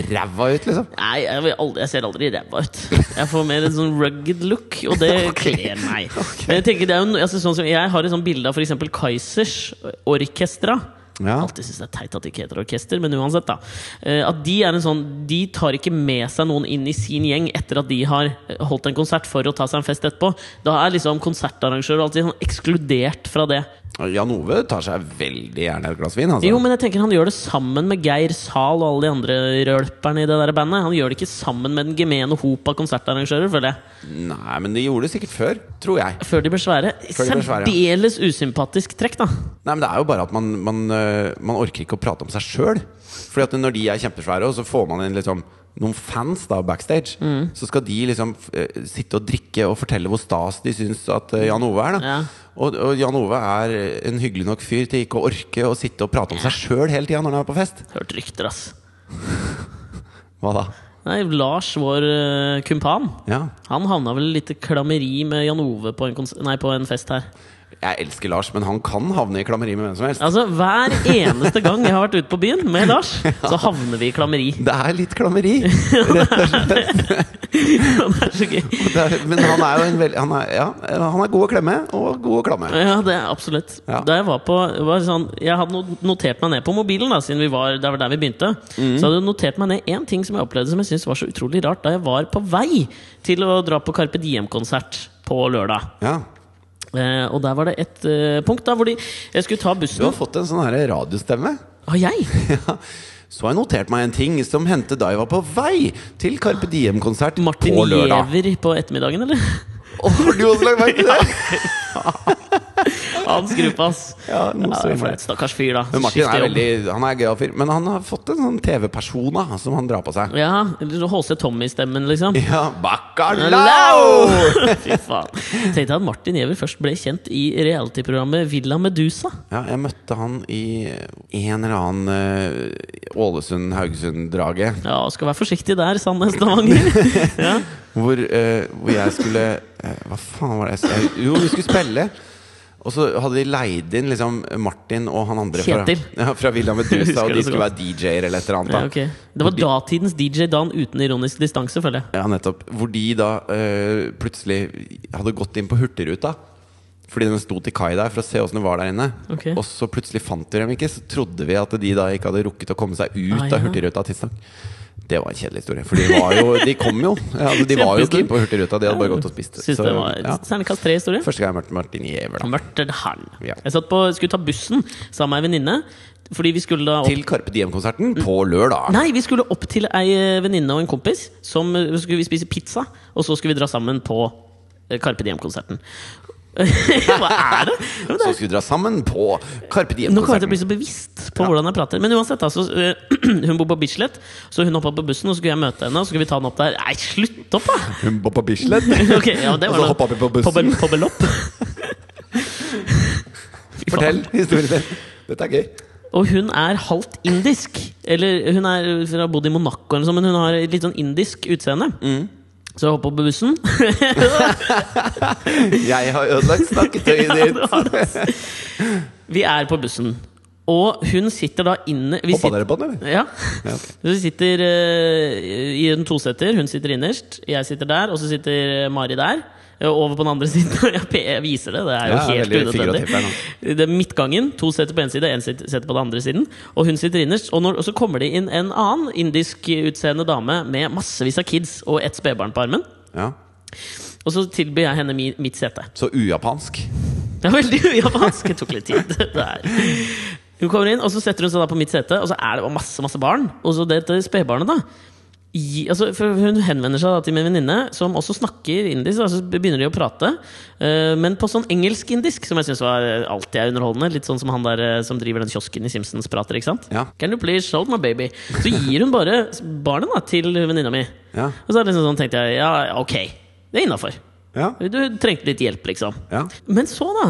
ræva ut, liksom?
Nei, jeg, vil aldri, jeg ser aldri ræva ut. Jeg får mer en sånn rugged look, og det kler meg. Men jeg tenker det er jo no- altså, sånn som Jeg har et sånt bilde av f.eks. Kaizers orkestra.
Ja.
Alltid syns det er teit at det ikke heter orkester, men uansett, da. Eh, At de er en sånn De tar ikke med seg noen inn i sin gjeng etter at de har eh, holdt en konsert for å ta seg en fest etterpå. Da er liksom konsertarrangør og alt sånn ekskludert fra det.
Jan Ove tar seg veldig gjerne et glass vin, altså.
Jo, men jeg tenker han gjør det sammen med Geir Zahl og alle de andre rølperne i det der bandet. Han gjør det ikke sammen med den gemene hop av konsertarrangører, føler jeg.
Nei, men de gjorde det sikkert før, tror jeg.
Før de ble svære.
Før de ble svære, ja.
Særdeles usympatisk trekk, da.
Nei, men Det er jo bare at man, man, øh, man orker ikke å prate om seg sjøl. at når de er kjempesvære, og så får man inn liksom, noen fans da backstage, så skal de liksom f- øh, sitte og drikke og fortelle hvor stas de syns at øh, Jan Ove er. da
Ja.
og, og Jan Ove er en hyggelig nok fyr til ikke å orke å sitte og prate om seg sjøl hele tida når han er på fest.
Hørt rykter, ass.
Hva da?
Nei, Lars, vår eh, kumpan,
Ja.
han havna vel i litt klammeri med Jan Ove på en, kons nei, på en fest her.
Jeg elsker Lars, men han kan havne i klammeri med hvem som helst.
Altså, Hver eneste gang jeg har vært ute på byen med Lars,
[LAUGHS]
så havner vi i klammeri. [LAUGHS]
Det er litt [LAUGHS] klammeri.
det er så gøy.
Det er, men han er jo en veldig han, er- ja, han er god å klemme, og god å klamme.
Ja, det er absolutt.
Ja.
Da jeg var på var sånn, Jeg hadde no- notert meg ned på mobilen, da siden vi var, det var der vi begynte.
Mhm.
Så hadde jeg notert meg ned én ting som jeg opplevde som jeg syntes var så utrolig rart da jeg var på vei til å dra på Carpe Diem-konsert på lørdag.
Ja.
Eh, og der var det et eh, punkt da hvor de Jeg skulle ta
Du har
bussen.
fått en sånn her radiostemme. [LAUGHS]
Har jeg?
Ja. Så har jeg notert meg en ting som hendte da jeg var på vei til Carpe Diem-konsert
Martin
på lørdag.
Giæver på
[LAUGHS]
ettermiddagen, eller?
Å, [LAUGHS] har du også lagt merke til det?
[LAUGHS] Hans gruppe, ass.
Ja, noe så
det er
ille.
flaut. Stakkars fyr, da.
Men Martin
Skifter
er
jobb.
veldig, han er en gøyal fyr. Men han har fått en sånn TV-persona som han drar på seg.
Ja, eller HC Tommy-stemmen, liksom.
Ja, bacalao!
Hello!
[LAUGHS]
Fy faen. Tenkte jeg at Martin Giæver først ble kjent i reality-programmet Villa Medusa.
Ja, jeg møtte han i en eller annen eh, Ålesund-Haugesund-draget.
Ja, skal være forsiktig der,
[LAUGHS]
Sandnes Stavanger. Ja.
Hvor, eh, hvor jeg skulle eh, Hva faen var det jeg skulle Jo, vi skulle spille. Og så hadde de leid inn liksom Martin og han andre fra,
Kjetil.
[LAUGHS] ja, fra Villa
Husker
Medusa. Og
det
de
så
skulle
godt.
være DJ-er eller et eller annet.
Ja,
Da.
ok. Det var datidens DJ Dan uten ironisk distanse, føler jeg.
Ja, nettopp. Hvor de da eh, plutselig hadde gått inn på Hurtigruta. Fordi den sto til kai der for å se åssen det var der inne.
Ok.
Og så plutselig fant vi dem ikke, så trodde vi at de da ikke hadde rukket å komme seg ut
Ah, ja.
av Hurtigruta tidsnok. Det var en kjedelig historie, for de, var jo, de kom
[LAUGHS]
jo. Ja, altså, de var jo ikke
Kjempestund.
inne på Hurtigruta, de hadde bare gått og spist.
Syns
Så,
det var
ja.
Terningkast tre-historie.
Første gang jeg møtte Martin Giæver, da.
Mørtel Hall.
Ja.
Jeg satt på, skulle ta bussen sammen med ei venninne. Fordi vi skulle da opp
Til Carpe Diem-konserten på lørdag.
Nei, vi skulle opp til ei eh, venninne og en kompis. Som eh, så skulle vi spise pizza, og så skulle vi dra sammen på eh, Carpe Diem-konserten. [LAUGHS] Hva er det? Ja, men det
Så
er
skulle vi dra sammen på Carpe
Nå kommer jeg til
Diem-konserten.
å bli så bevisst på hvordan jeg prater. Men uansett, altså, øh, [CLEARS THROAT] hun bor på Bislett, så hun hoppa på bussen, og så skulle jeg møte henne. Og så skulle vi ta henne opp der. Nei, slutt
[LAUGHS]
opp, da!
Hun bor på Bislett.
Ok, [LAUGHS] ja, det
Og så
var noe-
hoppet vi på bussen.
Pobbel, pobbel
[LAUGHS]
opp. Fy faen.
Fortell historien din. Dette er gøy.
Og hun er halvt indisk. Eller hun er hun har bodd i Monaco, eller noe sånt, men hun har et litt sånn indisk utseende.
Mm.
Så jeg hoppa
[LAUGHS]
på bussen.
Jeg har ødelagt snakketøyet
[LAUGHS] Ja,
ditt.
det var det, ass. [LAUGHS] vi er på bussen, og hun sitter da inne vi
Hoppa
sitter-
dere på den, eller?
Ja.
Ja, ok.
Så vi sitter eh, i en toseter. Hun sitter innerst, jeg sitter der, og så sitter Mari der. eh, Over på den andre [LAUGHS] siden. Jeg pe- Jeg viser det. Det er jo
Ja, veldig
helt
figurativt her
unødvendig. Det er midtgangen. To seter på én side, én sit- seter på den andre siden. Og hun sitter innerst. Og, når, og så kommer det inn en annen indisk utseende dame med massevis av kids og ett spedbarn på armen.
Ja.
Og så tilbyr jeg henne mi, mitt sete.
Så ujapansk.
Det er veldig ujapansk. Det tok litt tid. det der. Hun kommer inn, og så setter hun seg da på mitt sete, og så er det bare masse masse barn. Og så dette spedbarnet, da. Gi, altså, for hun henvender seg da til min venninne, som også snakker indisk. Altså begynner de å prate, eh, men på sånn engelsk-indisk, som jeg syns alltid er underholdende. Litt sånn som han der eh, som driver den kiosken i Simpsons prater, ikke sant?
Ja.
Can you please hold my baby? Så gir hun bare barnet da til venninna mi.
Ja.
Og så er det liksom sånn, tenkte jeg, ja, ok, det er innafor.
Ja.
Du trengte litt hjelp, liksom.
Ja.
Men så, da.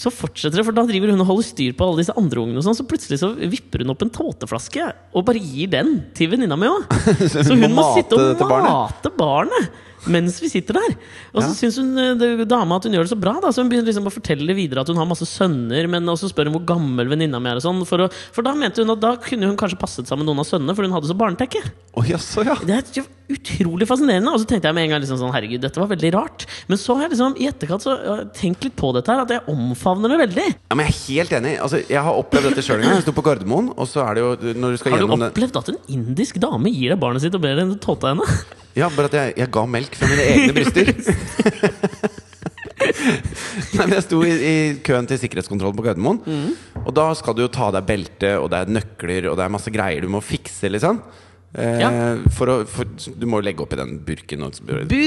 Så fortsetter det, for da driver hun og holder styr på alle disse andre ungene. Og sånn, så plutselig så vipper hun opp en tåteflaske og bare gir den til venninna mi òg. Så
Hun [LAUGHS]
hun
må
må
mate
sitte og
dette barnet.
mate barnet. mens vi sitter der. Og så
Ja.
syns hun eh, det- dama at hun gjør det så bra, da, så hun begynner liksom å fortelle videre at hun har masse sønner, men også spør hun hvor gammel venninna mi er og sånn. For, å, for da mente hun at da kunne hun kanskje passet sammen med noen av sønnene, for hun hadde så barnetekke.
Å, jaså, ja.
Det er jo utrolig fascinerende. Og så tenkte jeg med en gang liksom sånn, herregud, dette var veldig rart. Men så har jeg liksom i etterkant så har jeg tenkt litt på dette her, at jeg omfavner det veldig.
ja. Men jeg er helt enig. Altså, jeg har opplevd dette sjøl en gang. Jeg sto på Gardermoen, og så er det jo når du skal
Har du
gjennom den-
opplevd at en indisk dame gir deg barnet sitt og ber henne tåte henne?
Ja, bare at jeg, jeg ga melk fra mine egne bryster.
[LAUGHS]
Nei, men Jeg sto i, i køen til sikkerhetskontrollen på Gardermoen.
Mm.
Og da skal du jo ta av deg belte, og det er nøkler, og det er masse greier du må fikse. liksom eh,
Ja.
for å, for, Du må jo legge opp i den burken. Og,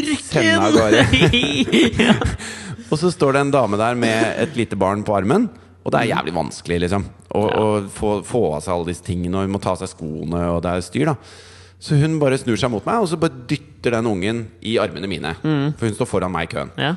sende av
[LAUGHS]
gårde.
Burken! ja.
og så står det en dame der med et lite barn på armen. Og det er
Mm.
jævlig vanskelig liksom å, å få, få av seg alle disse tingene, og hun må ta av seg skoene, og det er styr. da Så hun bare snur seg mot meg, og så bare dytter den ungen i armene mine. For hun står foran meg i køen.
ja.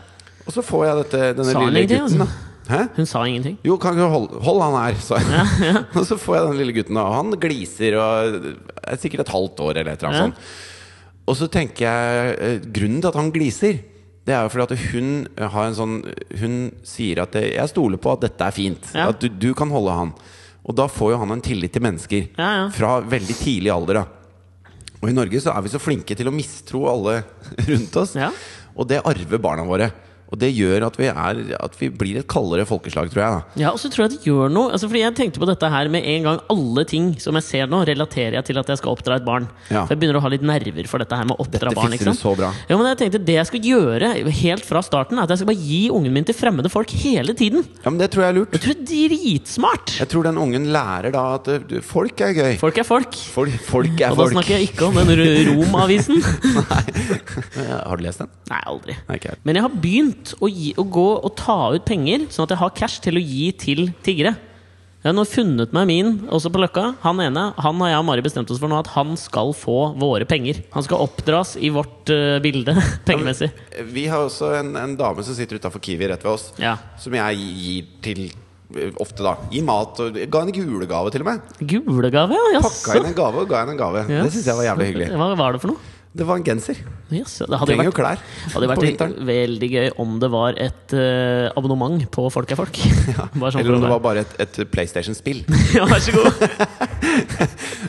Og så får jeg dette, denne
Mm. Sa han
lille
ingenting,
gutten.
altså?
da Hæ?
Hun sa ingenting.
Jo, kan ikke holde, hold han her, sa jeg. [LAUGHS] og så får jeg den lille gutten, og han gliser og er sikkert et halvt år eller et eller annet sånt. Og så tenker jeg eh, Grunnen til at han gliser, det er jo fordi at hun har en sånn Hun sier at det, 'jeg stoler på at dette er fint'.
Ja.
At du, du kan holde han. Og da får jo han en tillit til mennesker
Ja, ja.
fra veldig tidlig alder. da Og i Norge så er vi så flinke til å mistro alle [LAUGHS] rundt oss.
Ja.
Og det arver barna våre. Og det gjør at vi, er, at vi blir et kaldere folkeslag, tror jeg. da
Ja, og så tror jeg det gjør noe. Altså, fordi jeg tenkte på dette her med en gang alle ting som jeg ser nå, relaterer jeg til at jeg skal oppdra et barn.
Ja.
For jeg begynner å ha litt nerver for dette her med å oppdra
Dette
barn.
fikser du så bra.
Ja, men jeg tenkte Det jeg skal gjøre helt fra starten, er at jeg skal bare gi ungen min til fremmede folk hele tiden.
Ja, men Det tror jeg er lurt.
Jeg tror det er dritsmart!
Jeg tror den ungen lærer da at eh, du, folk er gøy.
Folk er folk.
Folk, folk er
Og da
folk.
snakker
[LAUGHS]
jeg ikke om den ru- Rom-avisen. [LAUGHS]
Ja, Har du lest den?
Nei, aldri.
Nei, ikke jeg.
Men jeg har begynt å, gi, å gå og ta ut penger, sånn at jeg har cash til å gi til tiggere. Jeg har nå funnet meg min, også på Løkka. Han ene han har jeg og Mari bestemt oss for nå at han skal få våre penger. Han skal oppdras i vårt eh, bilde [LAUGHS] pengemessig.
Vi har også en, en dame som sitter utafor Kiwi rett ved oss,
Ja.
som jeg gir til eh, ofte, da. I mat. Og ga henne julegave, til og med.
Gulegave, ja.
Pakka
Jaså.
inn en gave og ga henne en gave. Det syns jeg var jævlig hyggelig.
Hva var det for noe?
Det var en genser.
Jaså. Det hadde jo
Trenger jo
vært,
klær
hadde jo
på
vært
vinteren.
veldig gøy om det var et eh, abonnement på Folk er folk. [LAUGHS] Bare sånn for
Eller om
å
det var
være-
bare et, et
[LAUGHS]
PlayStation-spill.
Ja, vær så god.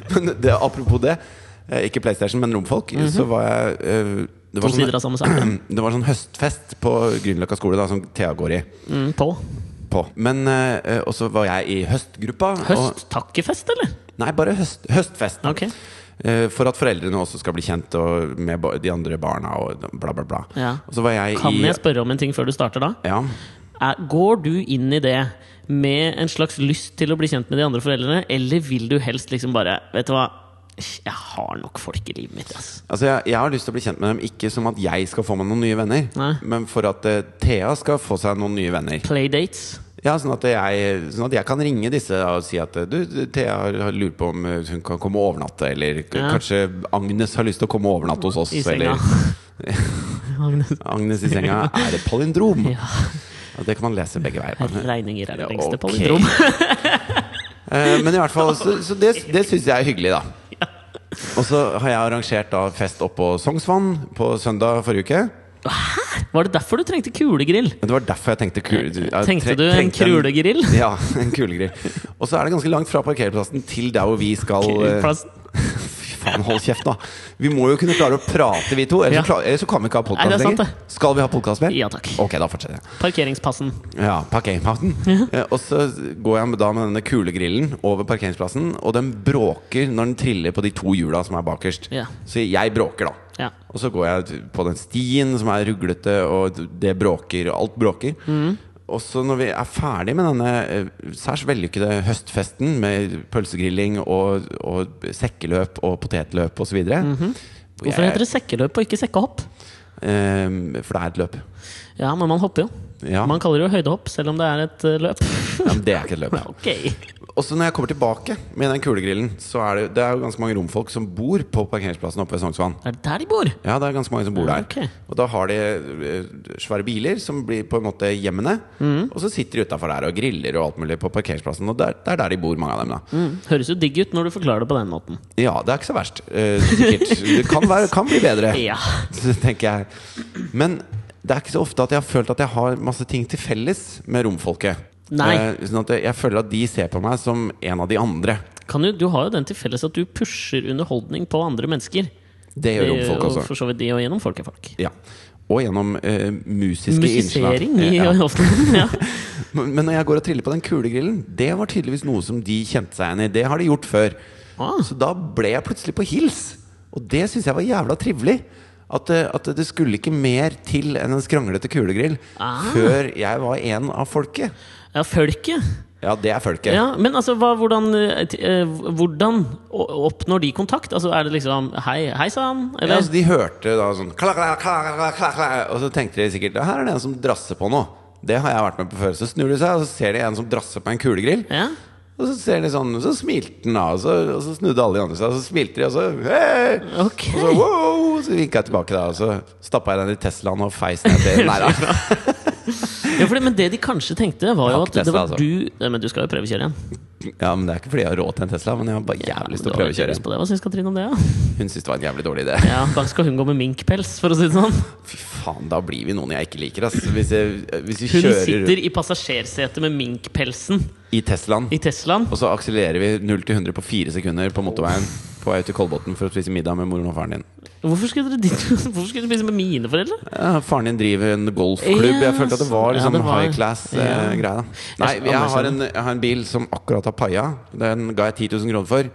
Men det, apropos det, eh, ikke PlayStation, men romfolk, så var jeg eh, det var,
Mhm. To sider av samme sak.
[CLEARS THROAT] det var sånn høstfest på Grünerløkka skole, da, som Thea går i.
Mm, på.
På. Men eh, Og så var jeg i høstgruppa. Og,
Høsttakkefest, eller?
nei, bare høst, høstfest. da.
Ok.
Eh, for at foreldrene også skal bli kjent og med ba- de andre barna og bla, bla, bla.
Ja.
Og så var jeg
Kan
i
jeg spørre om en ting før du starter, da?
ja.
Er, går du inn i det med en slags lyst til å bli kjent med de andre foreldrene, eller vil du helst liksom bare Vet du hva, jeg har nok folk i livet mitt, ass.
Altså jeg, jeg har lyst til å bli kjent med dem, ikke som at jeg skal få meg noen nye venner,
Nei.
men for at eh, Thea skal få seg noen nye venner.
Playdates.
Ja, sånn at, jeg, sånn at jeg kan ringe disse og si at du, Thea har- har lurer på om hun kan komme og overnatte, eller k-
Ja.
kanskje Agnes har lyst til å komme og overnatte hos oss.
I senga.
Eller [LAUGHS] Agnes i senga er et palindrom.
[LAUGHS] Ja,
Og Det kan man lese begge veier.
regninger er det
Ja,
lengste
ok.
palindrom.
Eh, Men i hvert fall, så, så det, det syns jeg er hyggelig,
[LAUGHS]
da. Og så har jeg arrangert da fest oppå Sognsvann på søndag forrige uke.
[LAUGHS] Var det derfor du trengte kulegrill?
Men Det var derfor jeg tenkte kul, jeg tre-
Tenkte du en
trengte
kulegrill?
Ja, [LAUGHS] en kulegrill. Og så er det ganske langt fra parkeringsplassen til der hvor vi skal eh,
Plass-
Fy faen, hold kjeft, da. Vi må jo kunne klare å prate, vi to. Ellers,
Ja.
så, kla- ellers så kan vi ikke ha
Nei, det
podkast
er sant,
lenger. Skal vi ha podkast mer?
Ja takk.
Ok, da fortsetter jeg.
Parkeringspassen.
Ja, parkeringsplassen. Eh, Og så går jeg da med denne kulegrillen over parkeringsplassen, og den bråker når den triller på de to hjula som er bakerst.
Ja.
Så jeg bråker, da.
Ja.
Og så går jeg på den stien som er ruglete, og det bråker, og alt bråker. Og så når vi er ferdig med denne eh, særs vellykkede høstfesten med pølsegrilling og, og sekkeløp og potetløp osv.
Hvorfor heter det sekkeløp og ikke sekkehopp?
eh, For det er et løp.
Ja, men man hopper jo.
Ja.
Man kaller det jo høydehopp, selv om det er et eh, løp. [LAUGHS]
Ja, men det er ikke et løp.
Ok.
Også når jeg kommer tilbake med den kulegrillen, så er det, det er jo ganske mange romfolk som bor på parkeringsplassen oppe ved Sognsvann.
Er det der de bor?
Ja, det er ganske mange som bor der.
Ok.
Og da har de eh, svære biler som blir på en måte hjemmene.
Mm.
Og så sitter de utafor der og griller og alt mulig på parkeringsplassen. Og det er- det er der de bor, mange av dem. da
Mm. Høres jo digg ut når du forklarer det på den måten.
Ja, det er ikke så verst. eh, sikkert.
[LAUGHS]
Det kan, være, kan bli bedre,
Ja.
[LAUGHS] tenker jeg. Men det er ikke så ofte at jeg har følt at jeg har masse ting til felles med romfolket.
Nei.
Eh, Sånn at jeg- jeg føler at de ser på meg som en av de andre.
Kan jo, du har jo den til felles at du pusher underholdning på andre mennesker. Eh,
Det gjør romfolk
og
også.
for så vidt de og gjennom folk er folk.
Ja. Og gjennom eh, musiske innslag.
Musisering i [LAUGHS]
Ja. [LAUGHS]
hoften. Ja.
Men men når jeg går og triller på den kulegrillen, det var tydeligvis noe som de kjente seg igjen i. Det har de gjort før.
Ah.
Så da ble jeg plutselig på hils. Og det syns jeg var jævla trivelig. At, eh, at det skulle ikke mer til enn en skranglete kulegrill
Ah.
før jeg var en av folket.
ja, folket.
Ja, det er folket.
Ja, men altså, hva, hvordan, eh, t- eh, hvordan o- oppnår de kontakt? Altså, er det liksom 'hei, hei sann'?
Ja,
Eller
altså, de hørte da sånn kla, kla, kla, kla, kla, kla, Og så tenkte de sikkert Her er det en som drasser på noe. Det har jeg vært med på før. Så snur de seg, og så ser de en som drasser på en kulegrill.
ja.
Og så ser de sånn, så smilte han da, og så, og så snudde alle de andre seg, og så smilte de, og så «Hei!»
Ok.
Og så wow! Så vinka jeg tilbake da, og så stappa jeg den i Teslaen og feis ned til Nei da.
[LAUGHS] ja for det, men det de kanskje tenkte, var jo
Fuck
at det
Tesla,
var
altså.
du Nei, Men du skal jo prøvekjøre igjen.
Ja, men det er ikke fordi jeg har råd til en Tesla, men jeg har bare
Ja, men
jævlig lyst
du
til å
har jo ikke
prøvekjøre.
lyst på det. Hva syns Katrine om
[LAUGHS]
det? da?
Hun syntes det var en jævlig dårlig idé.
Ja, Da skal hun gå med minkpels, for å si det sånn.
Fy faen, da blir vi noen jeg ikke
[LAUGHS]
liker, ass. Hvis, jeg, hvis vi
Hun
kjører
sitter i passasjersetet med minkpelsen
i Teslaen,
i Teslaen.
og så akselererer vi 0 til 100 på fire sekunder på motorveien på vei ut til Kolbotn for å spise middag med moren og faren din.
Hvorfor skulle dere dit? [LAUGHS] Hvorfor skulle dere spise med mine foreldre?
Ja, faren din driver en golfklubb. Jeg følte at det var
Ja,
liksom
det var-
high class-greia.
Ja.
Nei,
Jeg
jeg har, en,
anerkjenner.
jeg har en bil som akkurat har paia. Den ga jeg 10 000 kroner for.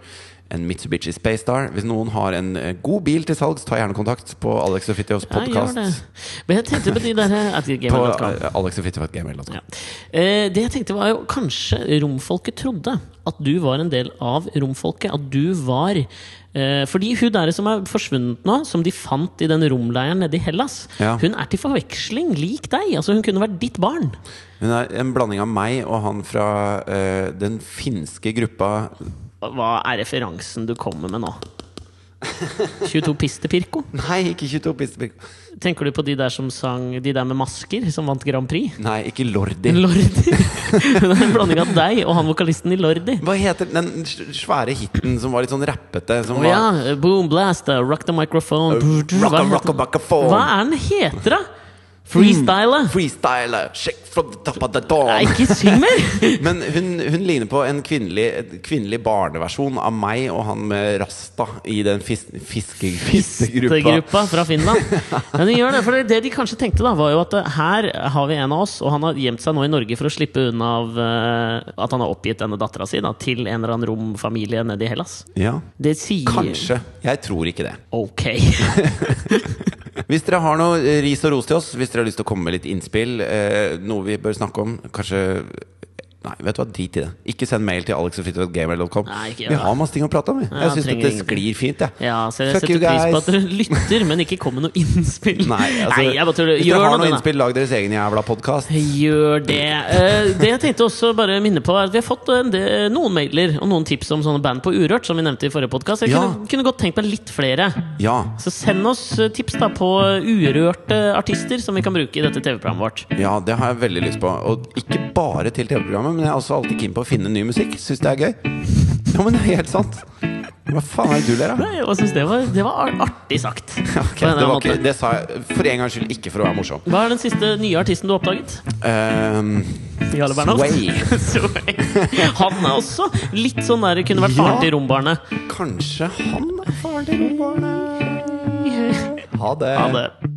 En Mitsubishi Space Star. Hvis noen har en eh, god bil til salgs, ta gjerne kontakt på Alex og Fitjofs
Ja, gjør
podkast.
det. Men jeg tenkte på de der at de
på
gamer.com.
eh, Alex og Fitjof at gmail.com.
Ja. Eh, det jeg tenkte var jo kanskje romfolket trodde at du var en del av romfolket. At du var eh, Fordi hun der som er forsvunnet nå, som de fant i den romleiren nede i Hellas,
Ja.
hun er til forveksling lik deg. Altså Hun kunne vært ditt barn.
Hun er en blanding av meg og han fra eh, den finske gruppa
Hva er referansen du kommer med
[LAUGHS]
nå? 22 Pistepirko?
Nei, ikke 22 Pistebirk.
Tenker du på de der som sang De der med masker, som vant Grand Prix?
Nei, ikke Lordi.
Lordi. [LAUGHS] Det er en blanding av deg og han vokalisten i Lordi.
Hva heter den s- svære hiten som var litt sånn rappete? Som
Å
var,
ja, boom, blast, uh, rock the microphone
Uh, Rock
Hva
a rock a
heter-
buck a phone.
Hva er den heter da? Freestyle?
Hmm. Freestyler, shake from the top of the
Nei,
dawn.
ikke syng mer!
[LAUGHS] Men hun, hun ligner på en kvinnelig, et kvinnelig barneversjon av meg og han med rasta i den fis, fiske, fiskegruppa.
Gruppa fra Finland. Men de gjør det, for det de kanskje tenkte, da var jo at eh, her har vi en av oss, og han har gjemt seg nå i Norge for å slippe unna av eh, at han har oppgitt denne dattera si da, til en eller annen romfamilie nede i Hellas.
Ja,
Det sier
kanskje. Jeg tror ikke det.
Ok.
Hvis dere har noe eh, ris og ros til oss, hvis dere har lyst til å komme med litt innspill, eh, noe vi bør snakke om, kanskje Nei, vet du hva, drit i det. Ikke send mail til alexogfritidgamer.com.
Nei, ikke gjør
Vi
det.
har masse ting å prate om. vi.
Ja,
Jeg syns
trenger
dette
ingenting.
sklir fint, jeg.
Ja, så jeg
Fuck
setter
you
pris på
guys.
at dere lytter, men ikke kom med noe innspill.
Nei, altså,
[LAUGHS] Nei, jeg bare tror
hvis
Gjør
dere har
noe,
noe
da.
innspill, lag deres egen jævla
[LAUGHS]
podkast.
Gjør det. Eh, Det jeg tenkte også bare minne på er at Vi har fått en del, noen mailer og noen tips om sånne band på Urørt, som vi nevnte i forrige podkast. Jeg
Ja.
kunne, kunne godt tenkt meg litt flere.
Ja.
Så send oss eh, tips da på urørte artister som vi kan bruke i dette TV-programmet vårt.
ja, det har jeg veldig lyst på. Og ikke bare til TV-programmet, men jeg er også alltid keen på å finne ny musikk. Syns det er gøy. Ja, men det er helt sant. Hva faen er det du ler av?
Nei, Jeg synes det, var, det var artig sagt.
Ok,
På denne
det, var ikke,
måten.
det sa jeg for en gangs skyld ikke for å være morsom.
Hva er den siste nye artisten du har oppdaget?
Ehm,
Jarle Bernhoft?
Sway.
[LAUGHS] Sway. Han er også litt sånn der kunne vært
Ja.
faren til rombarnet.
kanskje han er faren til rombarnet? Ha det.
Ha det.